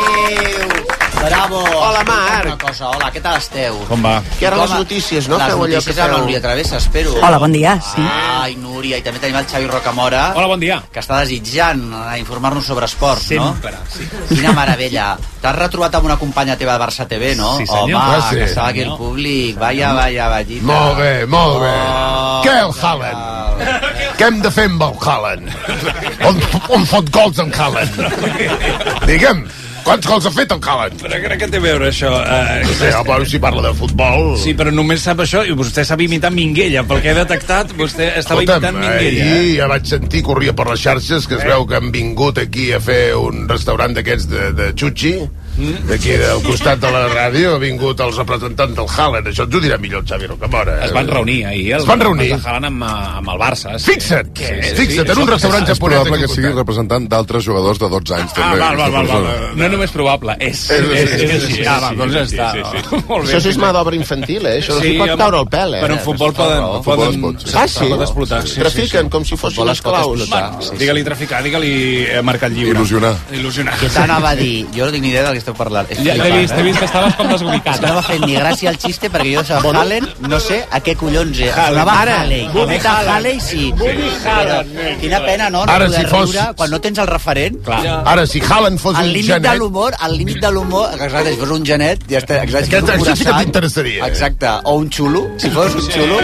Adéu! Bravo! Hola, Marc. Una cosa, hola, què tal esteu? Com va? Que ara Com les va? notícies, no? Les Feu allò notícies que feu. amb la Núria Travessa, espero. Hola, bon dia, sí. Ai, Núria, i també tenim el Xavi Rocamora, Hola, bon dia. que està desitjant eh, informar-nos sobre esports, Sempre, no? sí. Quina meravella. T'has retrobat amb una companya teva de Barça TV, no? Sí, senyor. Home, Ah, sí. que estava aquí el públic. Vaya, vaya, vallita. Molt bé, molt bé. Oh, Què, el Haaland? Què hem de fer amb el Haaland? On, on fot gols en Haaland? Digue'm, quants gols ha fet el Haaland? Però crec que té a veure això. Uh, Sí, home, si parla de futbol... sí, però només sap això i vostè sap imitar Minguella. Pel que he detectat, vostè estava imitant Minguella. ahir eh? ja vaig sentir, corria per les xarxes, Eh. que es veu que han vingut aquí a fer un restaurant d'aquests de, de xutxi, Mm. d'aquí del costat de la ràdio, ha vingut els representants del Haaland, això ens ho dirà millor el Xavi Rocamora. eh? Es van reunir ahir. El, Es van reunir. El Haaland amb, eh, amb el Barça. Sí. Fixa't, Sí, sí, sí, fixa't, en un això- restaurant És japonès. probable aquí que al sigui costat. representant d'altres jugadors de 12 anys, Ah, també. val, val, val, val. aquesta persona. No només probable, és. És- És, és, és- és així. és- Ah, va, doncs ja està. Molt bé. Això sí és mà d'obra infantil, eh? Això sí, Sí, pot home, caure el pèl, eh? Però en futbol poden... raó. poden Futbol es pot, sí. Ah, sí? Pot explotar. Sí, sí, sí. Trafiquen com si fossin Futbol les es pot claus. explotar. Va. Sí, sí. Digue-li traficar, digue-li eh, mercat lliure. Il·lusionar. Il·lusionar. Que t'anava a dir? Jo no tinc ni idea del que esteu parlant. És Ja t'he flipant, vist, t'he vist que estaves com És desubicat. que no m'ha fet ni gràcia el xiste perquè jo de Halen no sé a què collons eh, és. Haaland. Sonava Ara, Halley. Woody Cometa Halley, sí. Però Quina pena, no? no Ara, poder si fos- riure Quan no tens el referent, Clar. Ara, si Haaland fos al un límit de genet... l'humor, al límit de l'humor, Ah, exacte, si fos un genet, ja està, exacte, Aquest- un això sí que curaçat, t'interessaria. eh? Exacte, o un xulo, si fos un xulo,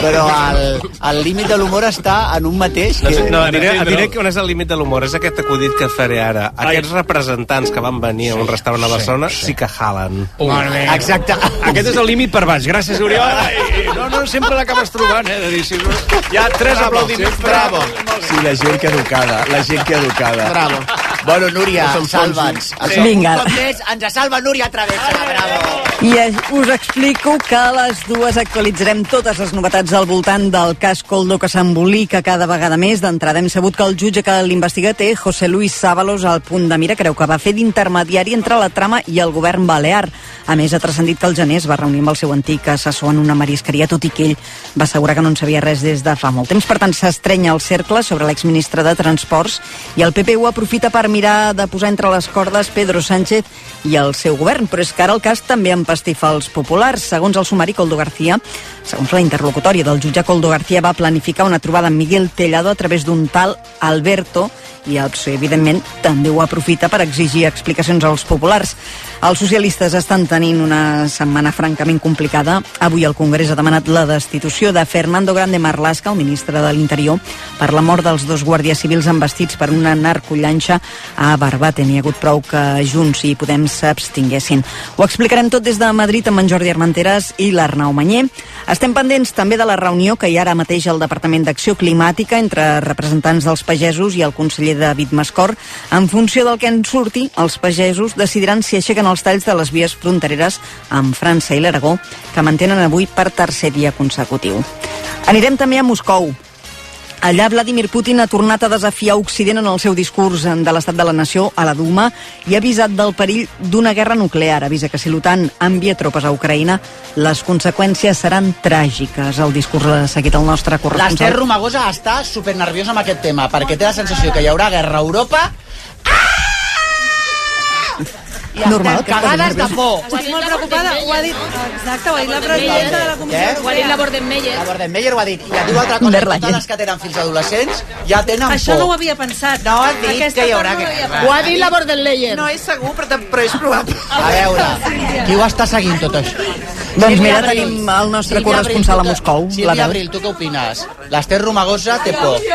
però al- al límit de l'humor està en un mateix que... No, diré, diré que on és el límit de l'humor. És aquest acudit que faré ara. Aquests representants que van venir a un restaurant a Barcelona sí, que jalen. Exacte. Aquest és el límit per baix. Gràcies, Oriol. I- i- No, no, sempre l'acabes trobant, eh? De dir, si no... Hi ha tres aplaudiments. Bravo. Sí, la gent que educada, la gent que educada. Bravo. Bueno, Núria, salva'ns. Això, Vinga. Un cop més, ens salva Núria Travessa. Bravo. I es- us explico que a les dues actualitzarem totes les novetats al voltant del cas Coldo que s'embolica cada vegada més. D'entrada hem sabut que el jutge que l'investiga té, José Luis Sábalos, al punt de mira, creu que va fer d'intermediari entre la trama i el govern balear. A més, ha transcendit que el gener es va reunir amb el seu antic assessor en una marisqueria, tot i que ell va assegurar que no en sabia res des de fa molt temps. Per tant, s'estrenya el cercle sobre l'exministre de Transports i el PP ho aprofita per mirar de posar entre les cordes Pedro Sánchez i el seu govern. Però és que ara el cas també empastifa els populars. Segons el sumari, Coldo García, segons la interlocutòria del jutge, Coldo García va planificar una trobada amb Miguel Tellado a través d'un tal Alberto i el PSOE, evidentment, també ho aprofita per exigir explicacions als populars. Els socialistes estan tenint una setmana francament complicada. Avui el Congrés ha demanat la destitució de Fernando Grande Marlaska, el ministre de l'Interior, per la mort dels dos guàrdies civils embestits per una narcollanxa a Barbaten. Hi ha hagut prou que Junts i Podem s'abstinguessin. Ho explicarem tot des de Madrid amb en Jordi Armenteres i l'Arnau Manyer. Estem pendents també de la reunió que hi ha ara mateix al Departament d'Acció Climàtica entre representants dels pagesos i el conseller David Mascor. En funció del que en surti, els pagesos decidiran si aixequen els talls de les vies frontereres amb França i l'Aragó, que mantenen avui per tercer dia consecutiu. Anirem també a Moscou. Allà Vladimir Putin ha tornat a desafiar Occident en el seu discurs eh, de l'estat de la nació a la Duma i ha avisat del perill d'una guerra nuclear. Avisa que si l'OTAN envia tropes a Ucraïna, les conseqüències seran tràgiques. El discurs l'ha seguit el nostre L'Ester corresponsal. Romagosa està supernerviosa amb aquest tema, perquè té la sensació que hi haurà guerra a Europa... Ah! I Normal, que estem cagades de estiguis por. Estic molt preocupada, ho ha dit... Exacte, ho ha dit la presidenta de la Comissió. Ho ha dit la Bordenmeyer. La Bordenmeyer ho ha dit. I et diu altra cosa, Verlaine. totes les que tenen fins adolescents ja tenen Això por. no ho havia pensat. No ha dit Aquesta que hi haurà part no ho havia guerra. pensat. Ho ha dit la Bordenmeyer. No és segur, però, tam- però és probable. A veure, qui ho està seguint tot això? Doncs Sílvia mira, Abril. tenim el nostre Sílvia Abril, corresponsal a tu que- Moscou, la Sílvia veu. Abril, tu què opines? L'Ester Romagosa té por. Sí.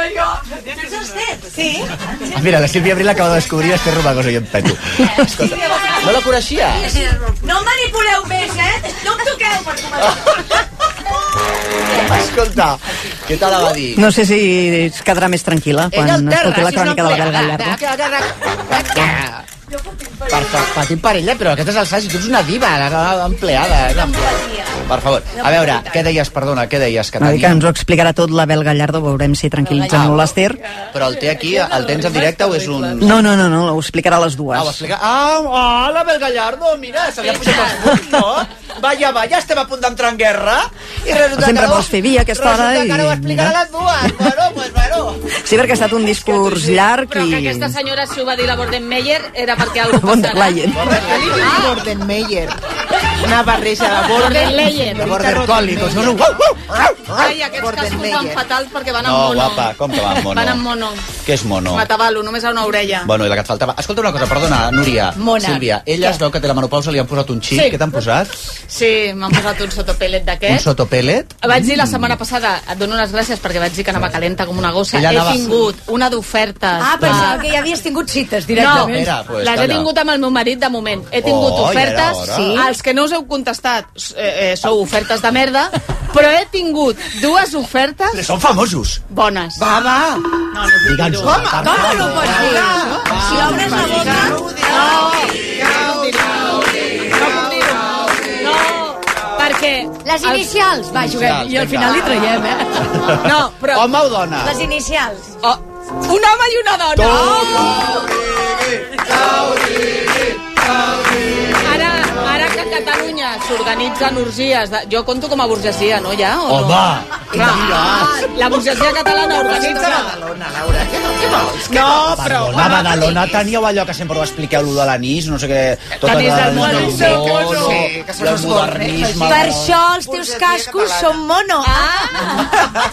Ah, Mira, la Sílvia Abril acaba de descobrir Esther Romagosa i em peto. Escolta, no la coneixies? No em manipuleu més, eh? No em toqueu, per començar. Ah. Escolta, què te la va dir? No sé si es quedarà més tranquil·la quan escolti la crònica de la Belga Gallardo. Per, per, patim per ella, però aquestes alçades, si tu ets una diva, una empleada. Una empleada. Per favor, a veure, què deies, perdona, què deies que No, dic que tenia? ens ho explicarà tot la Bel Gallardo, veurem si tranquil·litza molt l'Ester. Però el té aquí, el tens en directe o és un... No, no, no, no, ho explicarà a les Ah, ho dues. explica... Ah, ah, la Bel Gallardo, mira, se li ha pujat els punts, no? Vaya, vaya, estem a punt d'entrar en guerra. I resulta Sempre que no, vols fer via a aquesta hora Resulta que no ho i- explicarà a les dues. Bueno, pues bueno. Sí, perquè ha estat un discurs llarg Però que i... aquesta senyora, si ho va dir la Bordenmeyer, era perquè alguna Von cosa der Leyen. Bordenmeyer. Una barreja de Bordenmeyer. Bordenmeyer. Border Collie, com si fos un... Uh, uh, uh. Ai, aquests cascos van Bordenmeyer. fatals perquè van amb No, mono. guapa, com que va amb mono? Van amb mono. Què és mono? Matabalo, només a una orella. Bueno, i la que et faltava. Escolta una cosa, perdona, Núria. Mona. Sílvia, ella es veu que té la menopausa, li han posat un xip. Sí. Què t'han posat? Sí, m'han posat un sotopelet Un Mm. d'aquest. sotopellet? Vaig dir la setmana passada, et dono les gràcies perquè vaig dir que anava calenta com una gossa. Ella anava- He tingut una d'ofertes. Ah, pensava de- que ja havies tingut cites No, directament. Mira, pues, les he calla. tingut amb el meu marit de moment. He tingut Oh, ja era ofertes, hora. sí. els que no us heu contestat eh, eh, sou ofertes de merda, però he tingut dues ofertes Però són famosos. bones. Va, va. No, no, Digue'ns. Com, Com no ho pots dir? Si obres la boca... no, perquè... Les el- inicials, va, juguem. I al final li traiem, eh? No, però... Home o dona? Les inicials. Oh, un home i una dona. Ara, ara que a Catalunya s'organitzen orgies... De... Jo compto com a burgesia, no, ja? O no? Home, Clar, mira. la burgesia catalana organitza... una- No, però... Perdona, Badalona, teníeu allò que sempre ho expliqueu, allò de l'anís, no sé què... Tot L'anís del allò mono. del mono, Sí, sí, que són els modernisme... Per això els teus cascos són mono. Ah!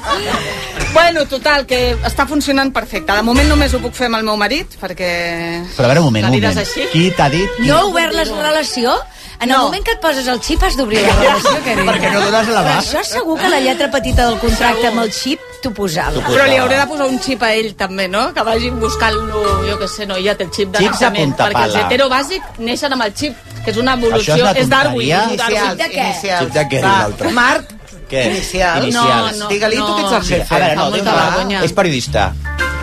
Bueno, total, que està funcionant perfecte. De moment només ho puc fer amb el meu marit, perquè... Però a veure, un moment, La un vida és moment. així. Qui t'ha dit? Qui... No ha obert la relació? En el No. moment que et poses el xip has d'obrir la relació, querida. Perquè no dones Però l'abast. això segur que la lletra petita del contracte amb el xip t'ho posava. Però li hauré de posar un xip a ell, també, no? Que vagi buscant-lo, jo què sé, no, ja té el xip de Xips a naixement. punta Perquè els pala. heterobàsics neixen amb el xip, que és una Això és evolució, una és Darwin. tonteria. Xip de què? Xip de què, diu l'altre. Marc, Què? Inicials. Inicials. No, no. digue-li tu que ets el Mira, jefe. a veure, Fa no, molta diu que vergonya. és periodista.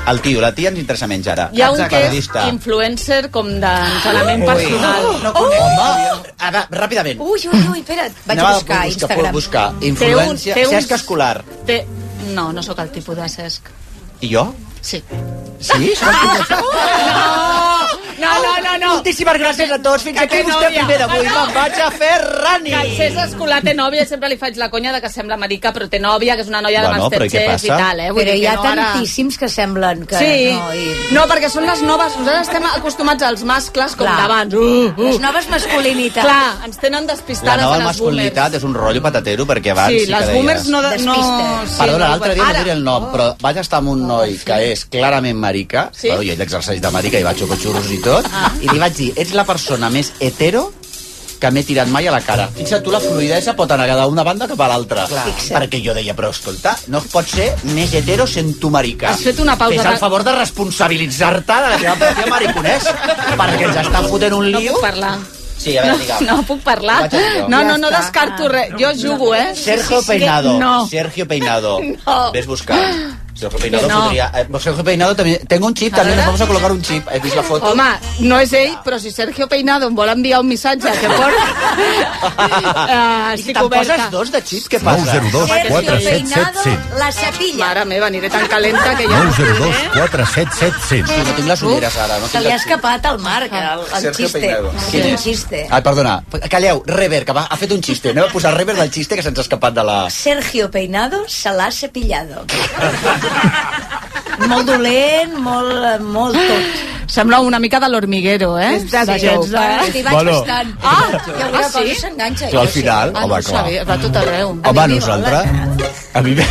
El tio, la tia ens interessa menys ara. Hi ha un que és periodista. influencer com d'entrenament personal. No conec. Home, a veure, ràpidament. Ui, ui, ui, espera't. Vaig a buscar a Instagram. Buscar, Té un- influència, té un- Cesc Escolar. Té... No, no sóc el tipus de Cesc. I jo? Sí. Sí? Ah! No, no, no, no. Moltíssimes gràcies a tots. Fins Que aquí té vostè nòvia. primer d'avui. Ah, no. Me'n vaig a fer rani. Que el Cesc Escolar té nòvia i sempre li faig la conya de que sembla marica, però té nòvia, que és una noia Bueno, de però i què Masterchef i passa? tal, eh? Vull Però dir hi que ha no, ara- tantíssims que semblen que Sí, no. I... no, perquè són les noves... Nosaltres estem acostumats als mascles com Clar. d'abans. Uh, Les uh. noves masculinitats. Clar, ens tenen La despistades nova a les masculinitat boomers. és un rotllo patatero perquè abans Sí, sí, que les deies... boomers no... de- no Despistes. sí, Perdona, no l'altre dia ho- no diré el nom, però vaig estar amb un noi que és clarament marica, Oh. Sí? Ah. bueno, i ell exerceix de marica i va xocar xurros i tot, i li vaig dir, ets la persona més hetero que m'he tirat mai a la cara. Fixa't tu, la fluidesa pot anar d'una banda cap a l'altra. Perquè jo deia, però escolta, no pot ser més hetero sent tu marica. Has fet una pausa Fes el de- favor de responsabilitzar-te de la teva pròpia mariconès, perquè ens estan fotent un No lío. puc parlar. Sí, a veure, digue'm. No, no puc parlar. Ho vaig a dir jo. No, no, Ja no està. Ah. descarto res. Jo jugo, eh? Sergio Peinado. No. Sergio Peinado. No. Ves buscant. Sergio Peinado Que no. podría... eh, Sergio Peinado también... Tengo un chip A también, veure. nos vamos a colocar un chip. ¿Has visto la foto? Home, no és ell, però si Sergio Peinado em vol enviar un missatge que porta... I si estic te'n oberta. poses dos de xip, què passa? 902 Peinado, la sapilla. Mare meva, aniré tan calenta que ja... no sé, eh? 477 No tinc les ulleres ara, no Se tinc li ha el xip. escapat al Marc, el, el Sergio xiste. Peinado. Ha Quin fet un és? xiste. Ai, perdona, calleu, Rever, que va, ha fet un xiste. Anem a posar Rever del xiste que se'ns ha escapat de la... Sergio Peinado se l'ha cepillado. molt dolent, molt, eh, molt tot. Sembla una mica de l'hormiguero, eh? És de Joe. T'hi vaig bueno. bastant. Ah, I alguna ah, sí? cosa s'enganxa. Clar, al jo sé. Ah, final, no home, ho clar. sabia, va a tot arreu. Home, mi m'hi nosaltres... A mi... me-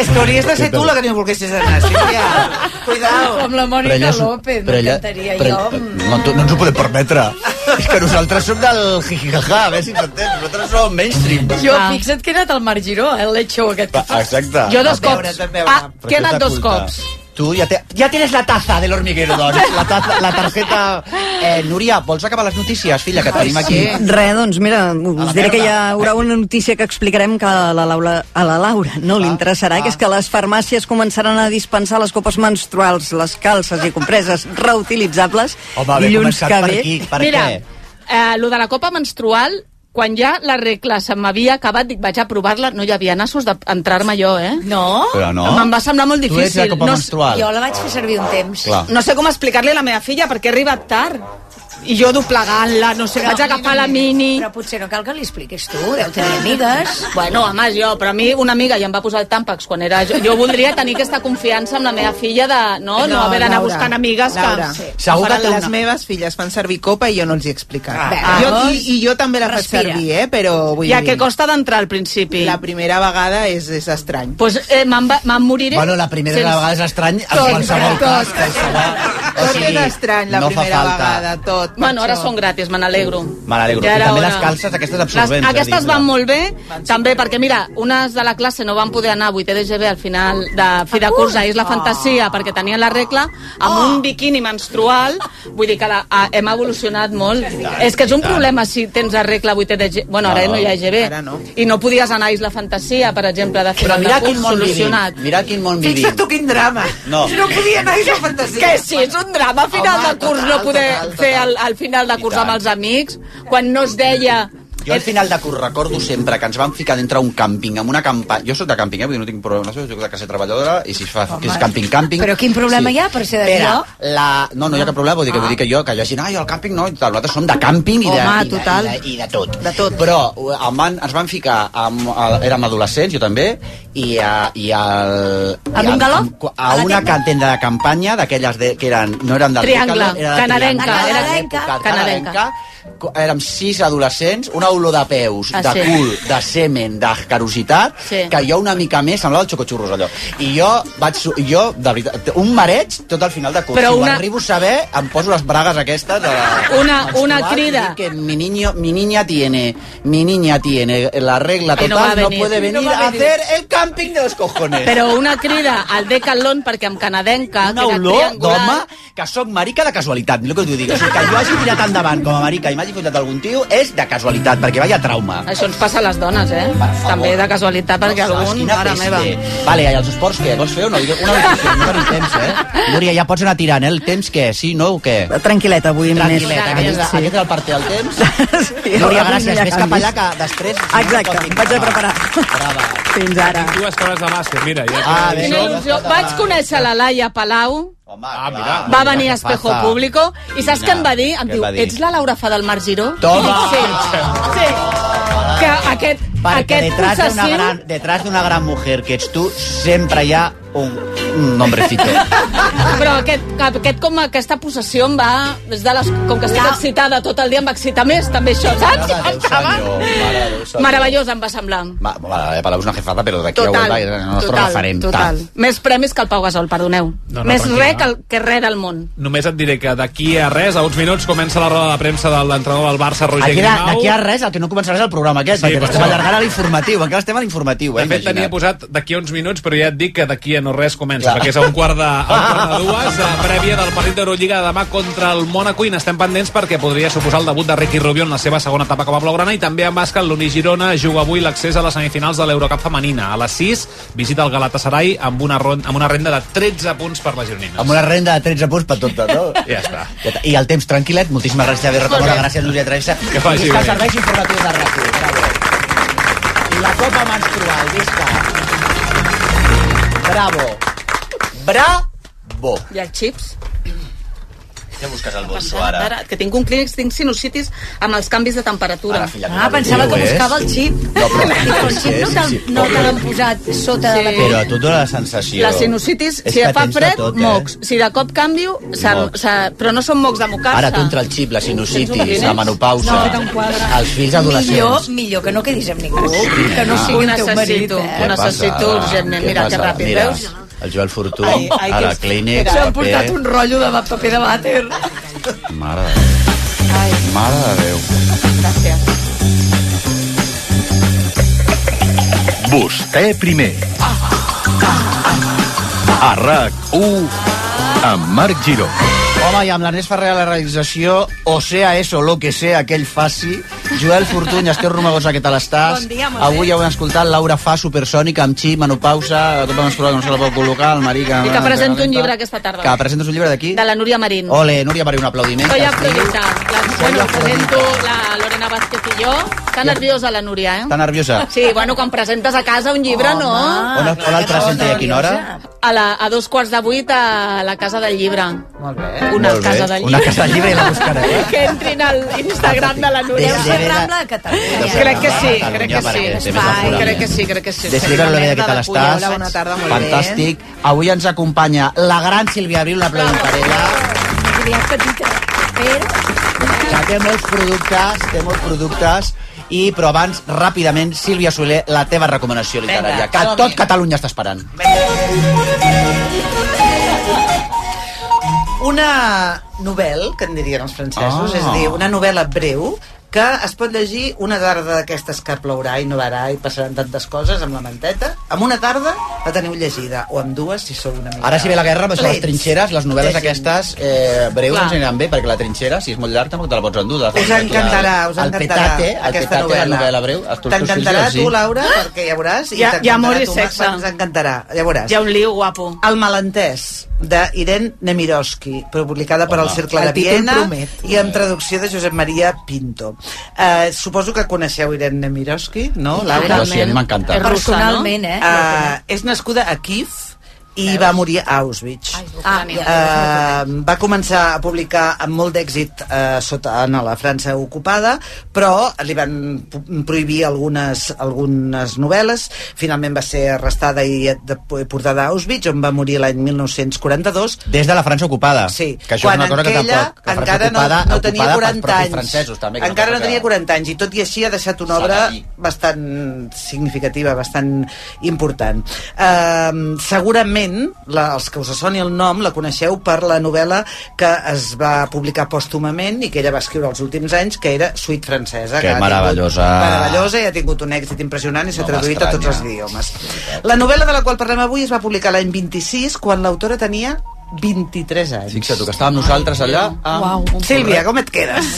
És que hauries de ser tu la que no volguessis anar, Sílvia. Cuidao. Com la Mònica és- López, però ella- m'encantaria. però- Jo... mm, No, tu- no ens ho podem permetre. És que nosaltres som del jijijaja, a veure si s'entén. Nosaltres som mainstream. Jo, Ah. fixa't que he anat al Marc Giró, eh, el late show aquest. Va, Exacte. Jo dos veure, cops. a veure. Ah, Però que he què anat dos t'oculta? cops. Tu ja, te, ja tienes la taza de l'hormiguero, doncs. La, taza, la targeta... Eh, Núria, vols acabar les notícies, filla, que tenim aquí? Res, doncs mira, us diré que hi haurà una notícia que explicarem que a la Laura, a la Laura no Ah, li interessarà, que és que les farmàcies començaran a dispensar les copes menstruals, les calces i compreses reutilitzables dilluns que ve. Per Mira, què? eh, lo de la copa menstrual, quan ja la regla se m'havia acabat, dic, vaig a provar-la, no hi havia nassos d'entrar-me jo, eh? No? Però no. Em va semblar molt Tu ets difícil. la copa no, menstrual. Jo la vaig fer servir un temps. Clar. no sé com explicar-li a la meva filla perquè he arribat tard. I jo doblegant-la, no sé, vaig agafar la mini... Però potser no cal que li expliquis tu, deu tenir amigues. Bueno, home, jo, però a mi una amiga ja em va posar el tàmpax quan era... Jo, jo voldria tenir aquesta confiança amb la meva filla de no, no, No, no haver d'anar Laura, buscant amigues Laura, que... Segur que les una- meves filles fan servir copa i jo no els hi he explicat. Ah, jo, veus? i, I jo també la faig Respira. servir, eh? Però vull I a dir- què costa d'entrar al principi? La primera vegada és, és estrany. Pues, eh, me'n va- me'n moriré... Bueno, la primera vegada és estrany en qualsevol cas, O Tot sigui, és estrany la no fa primera falta. vegada, tot. per Bueno, ara això. són gratis, me n'alegro. Me n'alegro. Ja I era també hora. les calces, aquestes Les, absorbents. eh, aquestes a van dintre. molt bé, també, perquè mira, unes de la classe no van poder anar a 8è de GB al final de fi de curs a Isla Fantasia Ah. perquè tenien la regla amb un biquini menstrual, vull dir que la, a, hem evolucionat molt. és que és un problema si tens la regla 8è de GB, bueno, ara No, no, hi ha GB, i no podies anar a Isla Fantasia, per exemple, de Però final mira de quin curs, món vivim. solucionat. Mira quin món vivim. Fixa't tu quin drama. No. No podia anar a Isla Fantasia. Que sí, és un drama a final Home, de curs total, no poder total, fer el, el final de curs amb els amics, quan no es deia... Jo al final de curs recordo sempre que ens vam ficar dintre un càmping, amb una campanya... Jo soc de càmping, eh? Vull dir, no tinc problema, jo soc de classe treballadora, i si es fa que és càmping, càmping... Però quin problema hi ha per ser Espera, d'avió? la... No, no hi ha cap problema, vull Ah. dir que, vull dir que jo, que hi ha gent, ai, al càmping no, i tal, nosaltres som de càmping i de, Home, i de, total. i de, i de tot. De tot. Però eh, em van, ens van ficar, amb, el, érem adolescents, jo també, i, a, i al... i Al bungalow? A, a una ca- tenda de campanya, d'aquelles de- que eren, no eren del Triangle, Decathlon, era de canadenca, Triangle. era- Època canadenca. co- érem sis adolescents, una olor de peus, Ah, de sí. cul, de semen, de carositat, Sí. que jo una mica més semblava el xocotxurros, allò. I jo, vaig, su- jo de veritat, un mareig tot al final de curs. Però Però una... una- Ho arribo a saber, Eh? em poso les bragues aquestes... De... Una- menstrual una i dic crida. Que mi, niño, mi niña tiene, mi niña tiene la regla Ai, no va a total, no, venir. puede venir No va a a venir. hacer el camping de los cojones. Però una crida al Decathlon perquè amb canadenca, una que era olor triangular... d'home que sóc marica de casualitat, mira el que t'ho dic. O sigui, que jo hagi tirat endavant com a marica i m'hagi fotut algun tio és de casualitat, perquè vaya trauma. Això ens passa a les dones, eh? També de casualitat, perquè Ostres, algun... quina Mare peste. meva. Vale, i els esports què? Vols fer o no? Digue- Una discussió, no tenim temps, eh? Núria, ja pots anar tirant, eh? El temps què? Sí, no o què? Tranquil·leta, avui Tranquil·leta, més. aquest, és, aquest era el part del temps. Sí. Núria, Avui gràcies. no hi ha Ves cap canvis. allà, que després... Exacte, vaig a preparar. Fins ara. Dues coses de bàsquet, mira. Ja Ah, tenim Quina això. il·lusió. Vaig conèixer la Laia Palau, Ah, mira. va venir a Espejo Público, i saps què em va dir? Em Què diu, va dir? ets la Laura Fa del Mar Giró? Toma! I dic, Sí, sí. Que aquest, Perquè aquest detrás d'una possessiu... gran, detrás d'una gran mujer que ets tu, sempre hi ha un, un hombrecito. Però aquest, aquest com aquesta possessió em va... Des de les, com que estic excitada tot el dia, em va excitar més, també això, saps? Meravellós em va semblar. Va, la Eh, Palau és una jefada, però d'aquí a eh, Total, Huelva és el nostre total, referent. total. Tal. Més premis que el Pau Gasol, perdoneu. No, no, Més tranquil·la. re que, el, que re del món. Només et diré que d'aquí a res, a uns minuts, comença la roda de premsa de l'entrenador del Barça, Roger Aquí, de- Grimau. d'aquí a res, el que no començarà és el programa aquest, Sí, sí, perquè per estem això. allargant a l'informatiu, encara estem a l'informatiu, eh, De fet, tenia imagina't. posat d'aquí a uns minuts, però ja et dic que d'aquí a no res comença, Clar. perquè és a un quart de, a un quart de dues, eh, prèvia del partit d'Eurolliga de demà contra el Mónaco, i n'estem pendents perquè podria suposar el debut de Ricky Rubio en la seva segona etapa com a blaugrana, i també en bàsquet l'Uni Girona juga avui l'accés a les semifinals de l'Eurocup femenina. A les 6 visita el Galatasaray amb una, ron- amb una renda de 13 punts per la Gironina. Amb una renda de 13 punts per tot, no? Ja està. Ja ta- I el temps tranquil·let, moltíssimes gràcies, Javier Rocamora, gràcies, Núria Travessa. Que faci Visca bé. els serveis informatius de RAC1. Bravo. La copa menstrual, visca. Bravo. Bravo. I els xips? Ja busques el bolso, Ara. ara. Ara, que tinc un clínic, tinc sinusitis amb els canvis de temperatura. Ara, filla, que Ah, no pensava que és. buscava el xip. No, però- Dic, el xip no Sí, te sí, l- no te l'han posat sota de la Però a tu et dóna la sensació... La sinusitis, És si que fa tens de fred, tot, eh? mocs. Si de cop canvio, se, Mocs. se, però no són mocs de mocar-se. Ara contra el xip, la sinusitis, la menopausa, No, no em quadra. els fills adolescents... Millor, millor que no quedis amb ningú, que no sigui Ho el teu marit, necessito, ho eh? necessito urgentment. Mira, que ràpid, Mira, veus? El Joel Fortú, Ai, ai, a que la és- clínica... eh? S'han portat un rotllo de ba- paper de vàter. Mare de Déu. Mare de Déu. Vostè eh, primer. A RAC1, amb Marc Giró. Home, i amb l'Ernest Ferrer a la realització, o sea eso, lo que sea que ell faci, Joel Fortuny, Esther Romagosa, què tal estàs? Bon dia, molt Avui ja ho hem escoltat, Laura Fa, Supersònica, amb Xi, Menopausa, tot vam escoltar que no se la pot col·locar, el marí que... I que presento un llibre aquesta tarda. Que presentes un llibre d'aquí? De la Núria Marín. Ole, Núria, per un aplaudiment. Soy que es diu- afrodita. La, bueno, presento la Lorena Vázquez i jo. Està nerviosa la Núria, eh? Està nerviosa? Sí, bueno, quan presentes a casa un llibre, no. On, on el presenta i a quina hora? A, la, a dos quarts de vuit a la Casa del Llibre. Molt bé. Una Molt bé. Casa del Llibre. Una casa del llibre i la buscaré. que entrin al Instagram de la Núria. Des de Vera- Instagram de Catalunya. Crec que sí, Catalunya, crec que sí. perquè té més altura. Crec que sí, crec que sí. Descriure la vida que tal de Puyola, estàs. Bona tarda, molt bé. Fantàstic. Avui ens acompanya la gran Sílvia Abril, una aplaudiment per ella. Diria petita, però... que té molts productes, té molts productes, i, però abans, ràpidament, Sílvia Soler, la teva recomanació literària, Vinga, que som-hi. tot Catalunya està esperant. Una novel·la, que en dirien els Ah. francesos, ah. és a dir, una novel·la breu, que es pot llegir una tarda d'aquestes que plourà i nevarà i passaran tantes coses amb la manteta. Amb una tarda la teniu llegida, o amb dues si sou una mica... Ara, si ve la guerra, amb això, les Plens. trinxeres, les novel·les aquestes eh, breus Clar. ens aniran bé, perquè la trinxera, si és molt llarga, tampoc te la pots endur. de la Us formatura. encantarà, us El encantarà petate, el aquesta petate, la novel·la. novel·la breu. els teus T'encantarà fills, tu, sí. Laura, perquè ja veuràs. Ah! Hi ha- hi ha amor i t'encantarà a tu, sexe. Max, Ens encantarà, ja veuràs. Hi ha un liu guapo. El malentès, de Irene Nemirovsky, però publicada per al Cercle El de títol Viena promet. i amb traducció de Josep Maria Pinto. Eh, suposo que coneixeu Irene Nemirovsky, no, Laura? Jo sí, a mi m'encanta. És russa, Personalment, no? eh? Eh, és nascuda a Kiev i va morir a Auschwitz. Ah, ja. Eh, va començar a publicar amb molt d'èxit eh, sota en la França ocupada, però li van pu- prohibir algunes, algunes novel·les. Finalment va ser arrestada i de- portada a Auschwitz, on va morir l'any 1942. Des de la França ocupada. Sí. Que això és una cosa que tampoc... Que la França encara ocupada, no, no tenia ocupada pels 40 anys. propis francesos, també, que és una encara no cosa tenia 40 anys, i tot i així ha deixat una S'ha obra de dir. bastant significativa, bastant important. Uh, segurament, la, els que us soni el nom, la coneixeu per la novel·la que es va publicar pòstumament i que ella va escriure els últims anys, que era Suite Francesa. Que ha tingut- meravellosa. Meravellosa, i ha tingut un èxit impressionant i s'ha No traduït a tots els m'estranya. idiomes. La novel·la de la qual parlem avui es va publicar l'any 26, quan l'autora tenia 23 anys. Fixa't tu, que estàvem nosaltres allà... ah, Amb... Sílvia, com et quedes?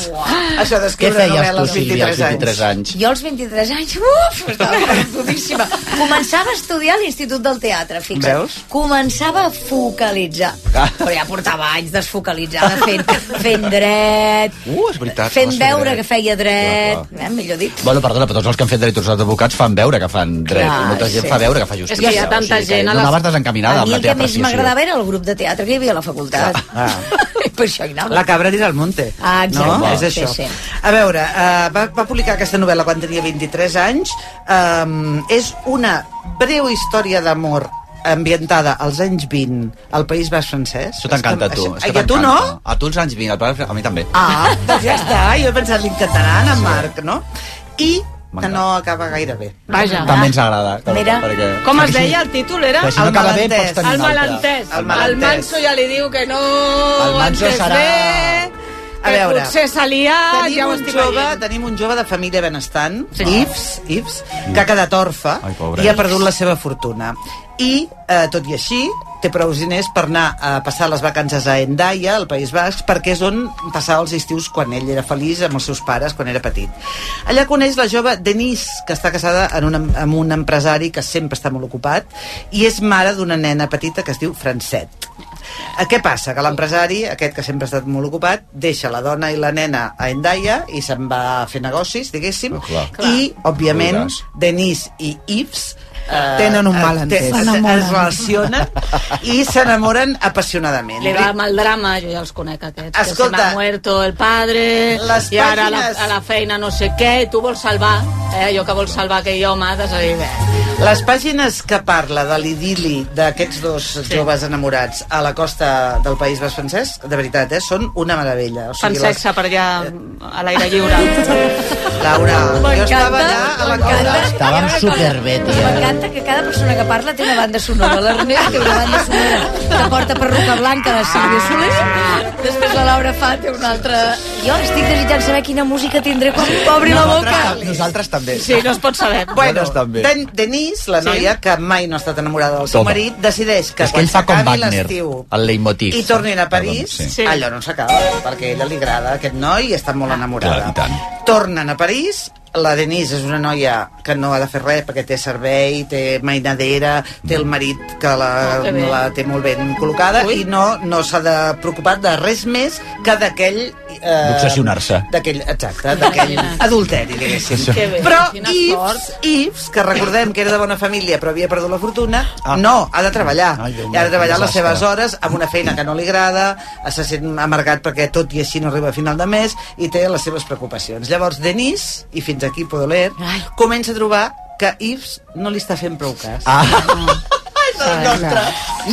Això Què d'escriure feies novel·la tu, als Sílvia, 23 als anys. 23 anys? Jo als 23 anys, uf, estava perdudíssima. Començava a estudiar a l'Institut del Teatre, fixa't. Veus? Ah. Començava a focalitzar. Però ja portava anys desfocalitzada, fent, fent dret, Uh, és veritat. fent vas fer veure dret. que feia dret, eh, millor dit. Bueno, perdona, però tots els que han fet dret, tots els advocats fan veure que fan dret. Clar, Molta gent sí. fa veure que fa justícia. És que hi ha tanta o sigui, gent a Que les- no anaves desencaminada a mi amb la el que teva més apreciació. m'agradava era el grup de teatre que hi havia a la facultat. Ah. I per això hi anava. La cabra tira al monte. Ah, exacte. No? És Sí, això. sí. A veure, eh, va, va publicar aquesta novel·la quan tenia 23 anys. Um, és una breu història d'amor ambientada als anys 20 al País Bas francès. Això t'encanta, a tu. Això- Això Ai, a tu no? t'encanta. A tu els anys 20, al pare- a mi també. Ah, doncs ja està, jo he pensat l'intentarà en en Marc, no? I que M'encanta. no acaba gaire bé. Vaja. També ens agrada. que- Mira. perquè... Com es deia el títol, era? Però si no el acaba bé, malentès. pots tenir El un altre. malentès. El El, malentès. manso ja li diu que no... El manso entès serà- Bé, A que veure. potser s'ha liat, Tenim, Ah, ja ho un estic jove, veient. tenim un jove de família benestant, sí. Ives, Ives, que ha quedat orfe Ai, pobre. i ha perdut la seva fortuna. I, eh, tot i així, té prou diners per anar a passar les vacances a Endaia, al País Basc, perquè és on passava els estius quan ell era feliç amb els seus pares quan era petit. Allà coneix la jove Denise, que està casada en un, em- amb un empresari que sempre està molt ocupat, i és mare d'una nena petita que es diu Francet. Eh, Què passa? Que l'empresari, aquest que sempre ha estat molt ocupat, deixa la dona i la nena a Endaia i se'n va a fer negocis, diguéssim, Oh, clar. i, òbviament, Veuràs. Denise i Yves eh, Tenen un eh, malentès. te- S'enamoren. Es relacionen i s'enamoren apassionadament. Li va amb el drama, jo ja els conec aquests. que Escolta. se m'ha muerto el padre, Les i ara a la, pàgines- a la feina no sé què, i tu vols salvar, eh, allò que vols salvar aquell home, has de dir, bé. Les pàgines que parla de l'idili d'aquests dos sí. joves enamorats a la costa del País Bas francès, de veritat, eh, són una meravella. O Fan sigui, les, sexe per allà, a l'aire lliure. Laura, jo estava allà a la costa... Estàvem superbé, tia. M'encanta que cada persona que parla té una banda sonora. La Renea té una banda sonora que porta perruca blanca de Sílvia Soler. Després la Laura fa té una altra... Jo estic desitjant saber quina música tindré quan obri la boca. Nosaltres, nosaltres també. no es pot saber. Bueno, Nosaltres també. Den Denise, la Sí. noia que mai no ha estat enamorada del seu Toma. marit, decideix que Que és que quan ell fa com s'acabi Wagner, l'estiu el leitmotiv. i tornin a París, Perdona, sí. allò no s'acaba, perquè a ella li agrada aquest noi i està molt enamorada. Clar, i tant. Tornen a París, la Denise és una noia que no ha de fer res perquè té servei, té mainadera, té Mm. el marit que la, Oh, que bé. la té molt ben col·locada i no, no s'ha de preocupar de res més que d'aquell eh, D'obsessionar-se. D'aquell, exacte, d'aquell adulteri, diguéssim. Sí, sí. Que bé, Però quina Ives, Ives, que recordem que era de bona família però havia perdut la fortuna, no, ha de treballar. Ah. Ai, Déu I ha meu, de treballar quin les desastre. seves hores amb una feina que no li agrada, se sent amargat perquè tot i així no arriba a final de mes i té les seves preocupacions. Llavors, Denis, i fins aquí puedo leer, comença a trobar que Ives no li està fent prou cas. Ah. No.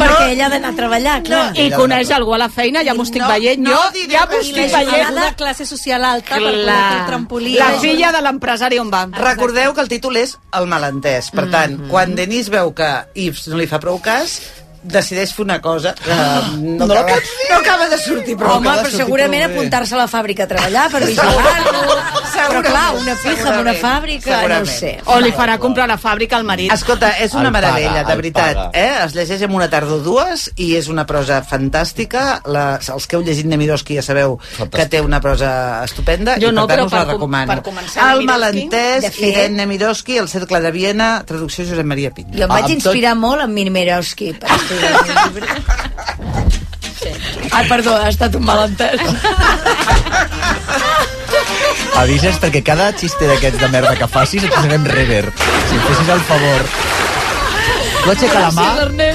Perquè ella ha d'anar a treballar, clar. I coneix algú a la feina, ja m'ho estic veient. jo ja m'ho estic veient. de classe social alta per poder Clar. fer el trampolí. La filla de l'empresari on va. Recordeu que el títol és El malentès. Mhm. Per tant, quan Denis veu que Ives no li fa prou cas, decideix fer una cosa que no, No acaba, no acaba de sortir prou Home, acaba de però sortir segurament prou bé. apuntar-se a la fàbrica a treballar per vigilar-lo. Però clar, una pija amb una Segurament. fàbrica, no ho Segurament. sé. O li farà comprar la fàbrica al marit. Escolta, és una El paga, meravella, de el veritat. paga. Eh? Es llegeix en una tarda o dues i és una prosa fantàstica. La, els que heu llegit Nemirovski ja sabeu que té una prosa estupenda Jo i no, per tant però us la per com- recomano. per començar, El Nemirovsky, malentès, de fet- Irene Nemirovski, El cercle de Viena, traducció Josep Maria Pinya. Jo em vaig inspirar molt en Mirmerovski per escriure el llibre. Ai, perdó, ha estat un malentès. Avises perquè cada xiste d'aquests de merda que facis et posarem rever. Si em fessis el favor. Tu aixeca la mà,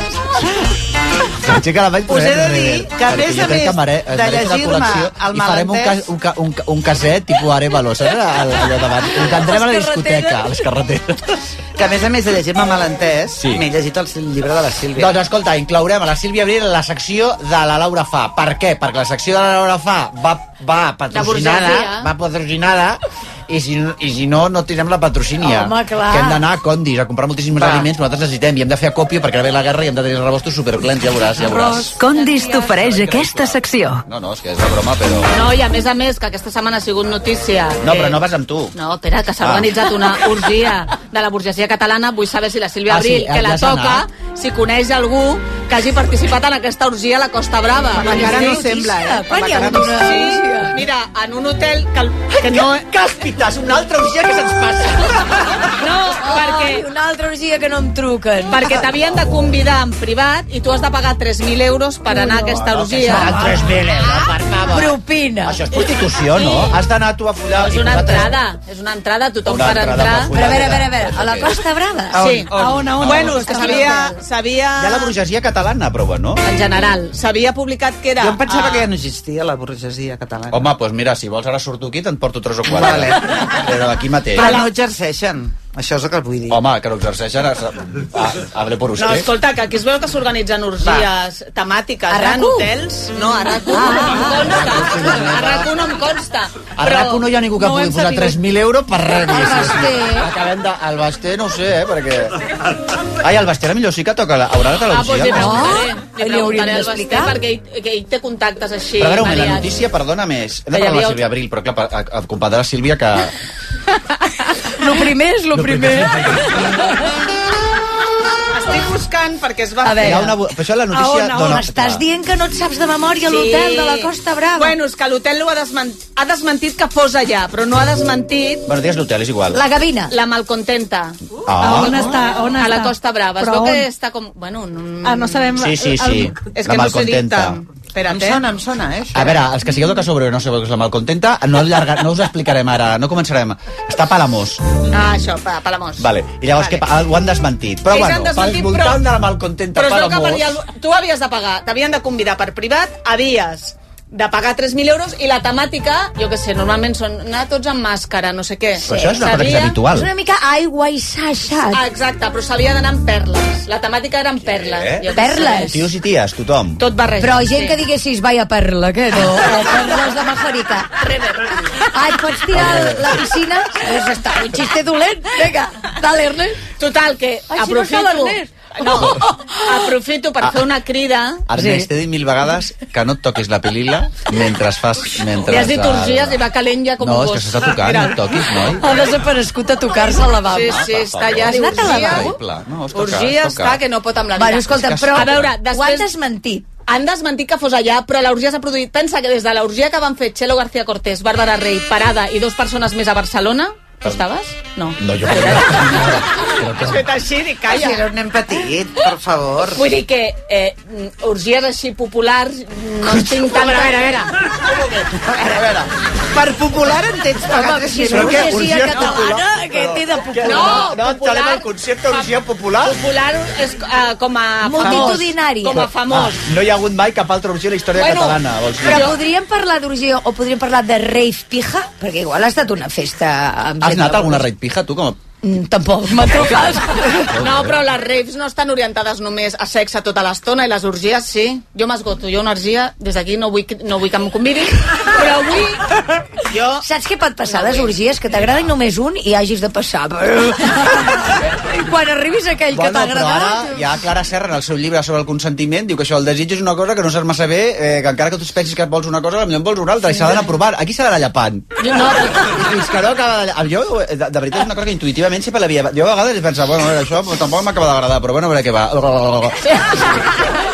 si aixeca la mà i et Us he posarem de rever. dir que, a Perquè més jo a crec més que mere- de es mereix una llegir-me col·lecció el I farem un, malentès- cas, un, ca, un, ca- un caset tipus Arevalo, saps? Al- Allò davant. Ho caldrem a la Les discoteca, carreteres. a les carreteres. Que a més a més de llegir-me malentès, sí. m'he llegit el llibre de la Sílvia. Doncs escolta, inclourem a la Sílvia Abril la secció de la Laura Fa. Per què? Perquè la secció de la Laura Fa va, va patrocinada, burgesia. va patrocinada i si, i si no, no tindrem la patrocínia. Home, clar. Que hem d'anar a condis a comprar moltíssims Va. aliments que nosaltres necessitem i hem de fer acòpia perquè ara ve la guerra i hem de tenir els rebostos superclents, ja veuràs, ja veuràs. Condis t'ofereix aquesta secció. No, no, és que és de broma, però... No, i a més a més, que aquesta setmana ha sigut notícia... No, però no vas amb tu. No, espera, que s'ha Ah. organitzat una orgia de la burgesia catalana. Vull saber si la Sílvia Ah, sí, Abril, ja- que ja la s'ha toca, anat. si coneix algú que hagi participat en aquesta orgia a la Costa Brava. Però encara no Sí, sembla, eh? quan hi ha Encara hagut no una- sembla. Sí, mira, en un hotel que, el- que no... Càspites, una altra orgia que se'ns passa. No, Ai, perquè... una altra orgia que no em truquen. Perquè t'havien de convidar en privat i tu has de pagar 3.000 euros per anar a aquesta orgia. No, Ah, 3.000 euros, per favor. Propina. Això és prostitució, no? Has d'anar tu a follar... És i una nosaltres- entrada, és una entrada, tothom Una per entrada entrar. per follar. Però a veure, a veure, a veure, a la Costa Brava? A on? Sí. A on, a on? Bueno, A on? és que s'havia... s'havia... Hi ha la burgesia catalana, prova, no? En general, s'havia publicat que era... Jo em pensava ah, que ja no existia la burgesia catalana. Home, doncs pues mira, si vols ara surto aquí, te'n porto tres o quatre. Vale. Però d'aquí mateix. Però no exerceixen. Això és el que vull dir. Home, que no exerceixen... ah, A, a, hable por usted. No, escolta, que aquí es veu que s'organitzen orgies temàtiques, A eh, en RAC1? hotels. No, a RAC1 no em consta. A RAC1 no em consta. a RAC1 no hi ha ningú que no pugui hem posar sabut. Ah, 3.000 euros per res. Al diguéssim. Basté. Acabem de... El Basté no ho sé, eh, perquè... Ai, el Basté a la millor sí que toca... La... Haurà de Ah, doncs televisió, li preguntaré. Li Li hauríem preguntaré al Basté d'explicar. perquè ell, que ell té contactes així. Però a veure, un moment, la variats. notícia, perdona més. Hem de Que hi parlar de la havia- Sílvia Abril, però clar, per- a, a, compadre la Sílvia que... Lo primer és lo primer. Estic buscant perquè es va... A veure. Hi ha una... bu- Però això la notícia... a on, dona- Estàs dient que no et saps de memòria Sí. l'hotel de la Costa Brava? Bueno, és que l'hotel ho ha, desment... ha desmentit que fos allà, però no ha desmentit... Bueno, digues l'hotel, és igual. gavina. La malcontenta. Ah. On està? On a la està? Costa Brava. Però es veu on? que està com... Bueno, no... Ah, no sabem... Sí, sí, sí. El- És que no sé dir tant. Em sona, em sona, eh? A veure, els que sigueu de Casobro i no sabeu que és la malcontenta, no, allarga, no us explicarem ara, no començarem. Està a Palamós. Ah, això, pa, Palamós. Vale. I llavors vale. Que, pa- ho han desmentit. Però Ells bueno, han desmentit, pel voltant però- de la malcontenta Però es veu que Palamós... valia el- tu havies de pagar, t'havien de convidar per privat, havies de pagar 3.000 euros i la temàtica, jo que sé, normalment són anar tots amb màscara, no sé què. Però això és una cosa que és S'havia- habitual. És una mica aigua i saixa. Ah, Exacte, però s'havia d'anar amb perles. La temàtica era amb perles. Eh? jo què sé. Tios i ties, tothom. Tot barrejat. Però gent que diguessis, vaya perla, que no, o perles de majorica. Ah, et pots tirar a la piscina? Doncs està, un xiste dolent. Vinga, dale, Ernest. Total, que Ai, si no aprofito... està l'Ernest. no, aprofito per Ah. fer una crida. Ernest, t'he dit mil vegades que no et toquis la pilila mentre fas... Mentre Li has dit orgies i va calent ja com No, un és gos. que s'està tocant, no et toquis, noi. Ha desaparegut a tocar-se a la bamba. Sí, sí, Ah, està allà. Has anat a la bamba? Horrible. No, es toca, Orgia es toca. està que no pot amb la vida. Bueno, escolta, És que però a veure, ho han després... desmentit. Han desmentit que fos allà, però l'orgia s'ha produït. Pensa que des de l'orgia que van fer Chelo García Cortés, Bàrbara Rey, Parada i dos persones més a Barcelona, Tu estaves? No. No, jo... Has fet així i Calla. Si era un nen petit, per favor. Vull dir que eh, orgies així populars no en tinc tant... A veure, a veure, a veure. Per popular en tens pagat així. Però què, orgia catalana, popular? que té de popular. No, No, no popular- entenem el concepte d'orgia popular. Popular és eh, com a famós. Multitudinari. Com a famós. Ah, no hi ha hagut mai cap altra opció a la història Bueno, catalana, vols dir? Però podríem parlar d'orgia o podríem parlar de rave pija? Perquè igual ha estat una festa... Amb Has gent anat de- a alguna red pija, tu? Com a... Mm, Tampoc, m'ha trucat. No, però les raves no estan orientades només a sexe tota l'estona i les orgies sí. Jo m'esgoto, jo una orgia, des d'aquí no vull, que- no vull que em convidin, però avui jo... Saps què pot passar, les orgies? Que t'agradi només un i hagis de passar. I quan arribis a aquell que Bueno, t'ha però ara agradat... ja Clara Serra, en el seu llibre sobre el consentiment, diu que això, el desig és una cosa que no saps massa bé, eh, que encara que tu pensis que et vols una cosa, potser en vols una altra, i s'ha d'anar provant. Aquí s'ha d'anar llapant. No, I fins que no acaba de... lla- Jo, eh, de, de veritat, és una cosa que intuïtivament sempre l'havia... Jo a vegades pensava, bueno, a veure, això tampoc m'acaba d'agradar, però bueno, a veure què va.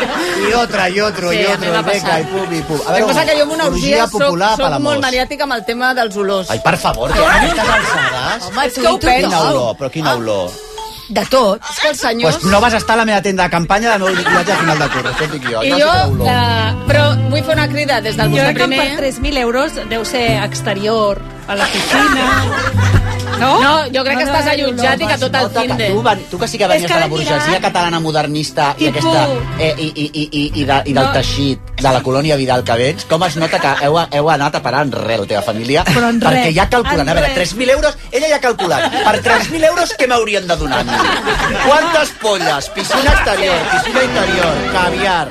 I otra, i otro, Sí, i a mi otro, m'ha venga, passat. i pum, i pum. El que passa que jo amb una orgia soc, popular, soc Palamós. molt maniàtica amb el tema dels olors. Ai, per favor, que no estàs alçades. Home, és tu que i ho Ah, tu Quina penso. olor, però quina olor. De tot. És que els senyors... Pues no vas estar a la meva tenda de campanya de nou liquidatge a final de curs, això et dic jo. I Ja jo, sé que olor. la... però vull fer una crida des del Jo vostre crec que primer... per 3.000 euros deu ser exterior, a la piscina... No? No, jo crec que No, no, estàs no, allotjat no, i que tot el Escolta, fin que de... tu, van- tu que sí que venies És que eh? de la l'he burgesia mirat. catalana modernista i, Tipus. aquesta, eh, i, i, i, i, i, de, i del No. teixit de la colònia Vidal que vens, com es nota que heu, heu anat a parar en re la teva família? Però en perquè re, ja calculen, en a veure, re. 3.000 euros, ella ja ha calculat. Per 3.000 euros què m'haurien de donar? a mi? Quantes polles, piscina exterior, piscina interior, caviar,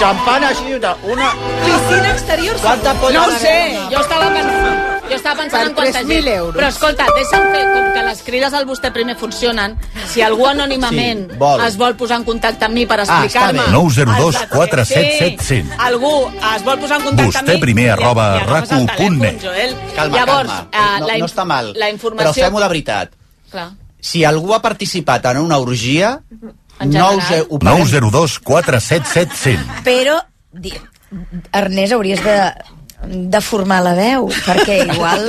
xampana així, una... una... Piscina exterior... Quanta polla No ho sé, m'haurien de- jo estava pensant... Jo estava pensant Per en quanta 3.000 gent. euros. Però escolta, deixa'm fer, com que les crides al vostè primer funcionen, si algú anònimament Sí, vol. es vol posar en contacte amb mi per Ah, està explicar-me... bé. 902 47 Sí, 700. algú es vol posar en contacte amb mi... Vostè primer arroba racu.net. Joel. Calma, Llavors, calma. eh, no, la, no in- està mal, la informació... però fem-ho de veritat. Clar. Si algú ha participat en una orgia, En no general. us he... 902 477 100. Però, di, Ernest, hauries de, de formar la veu, perquè igual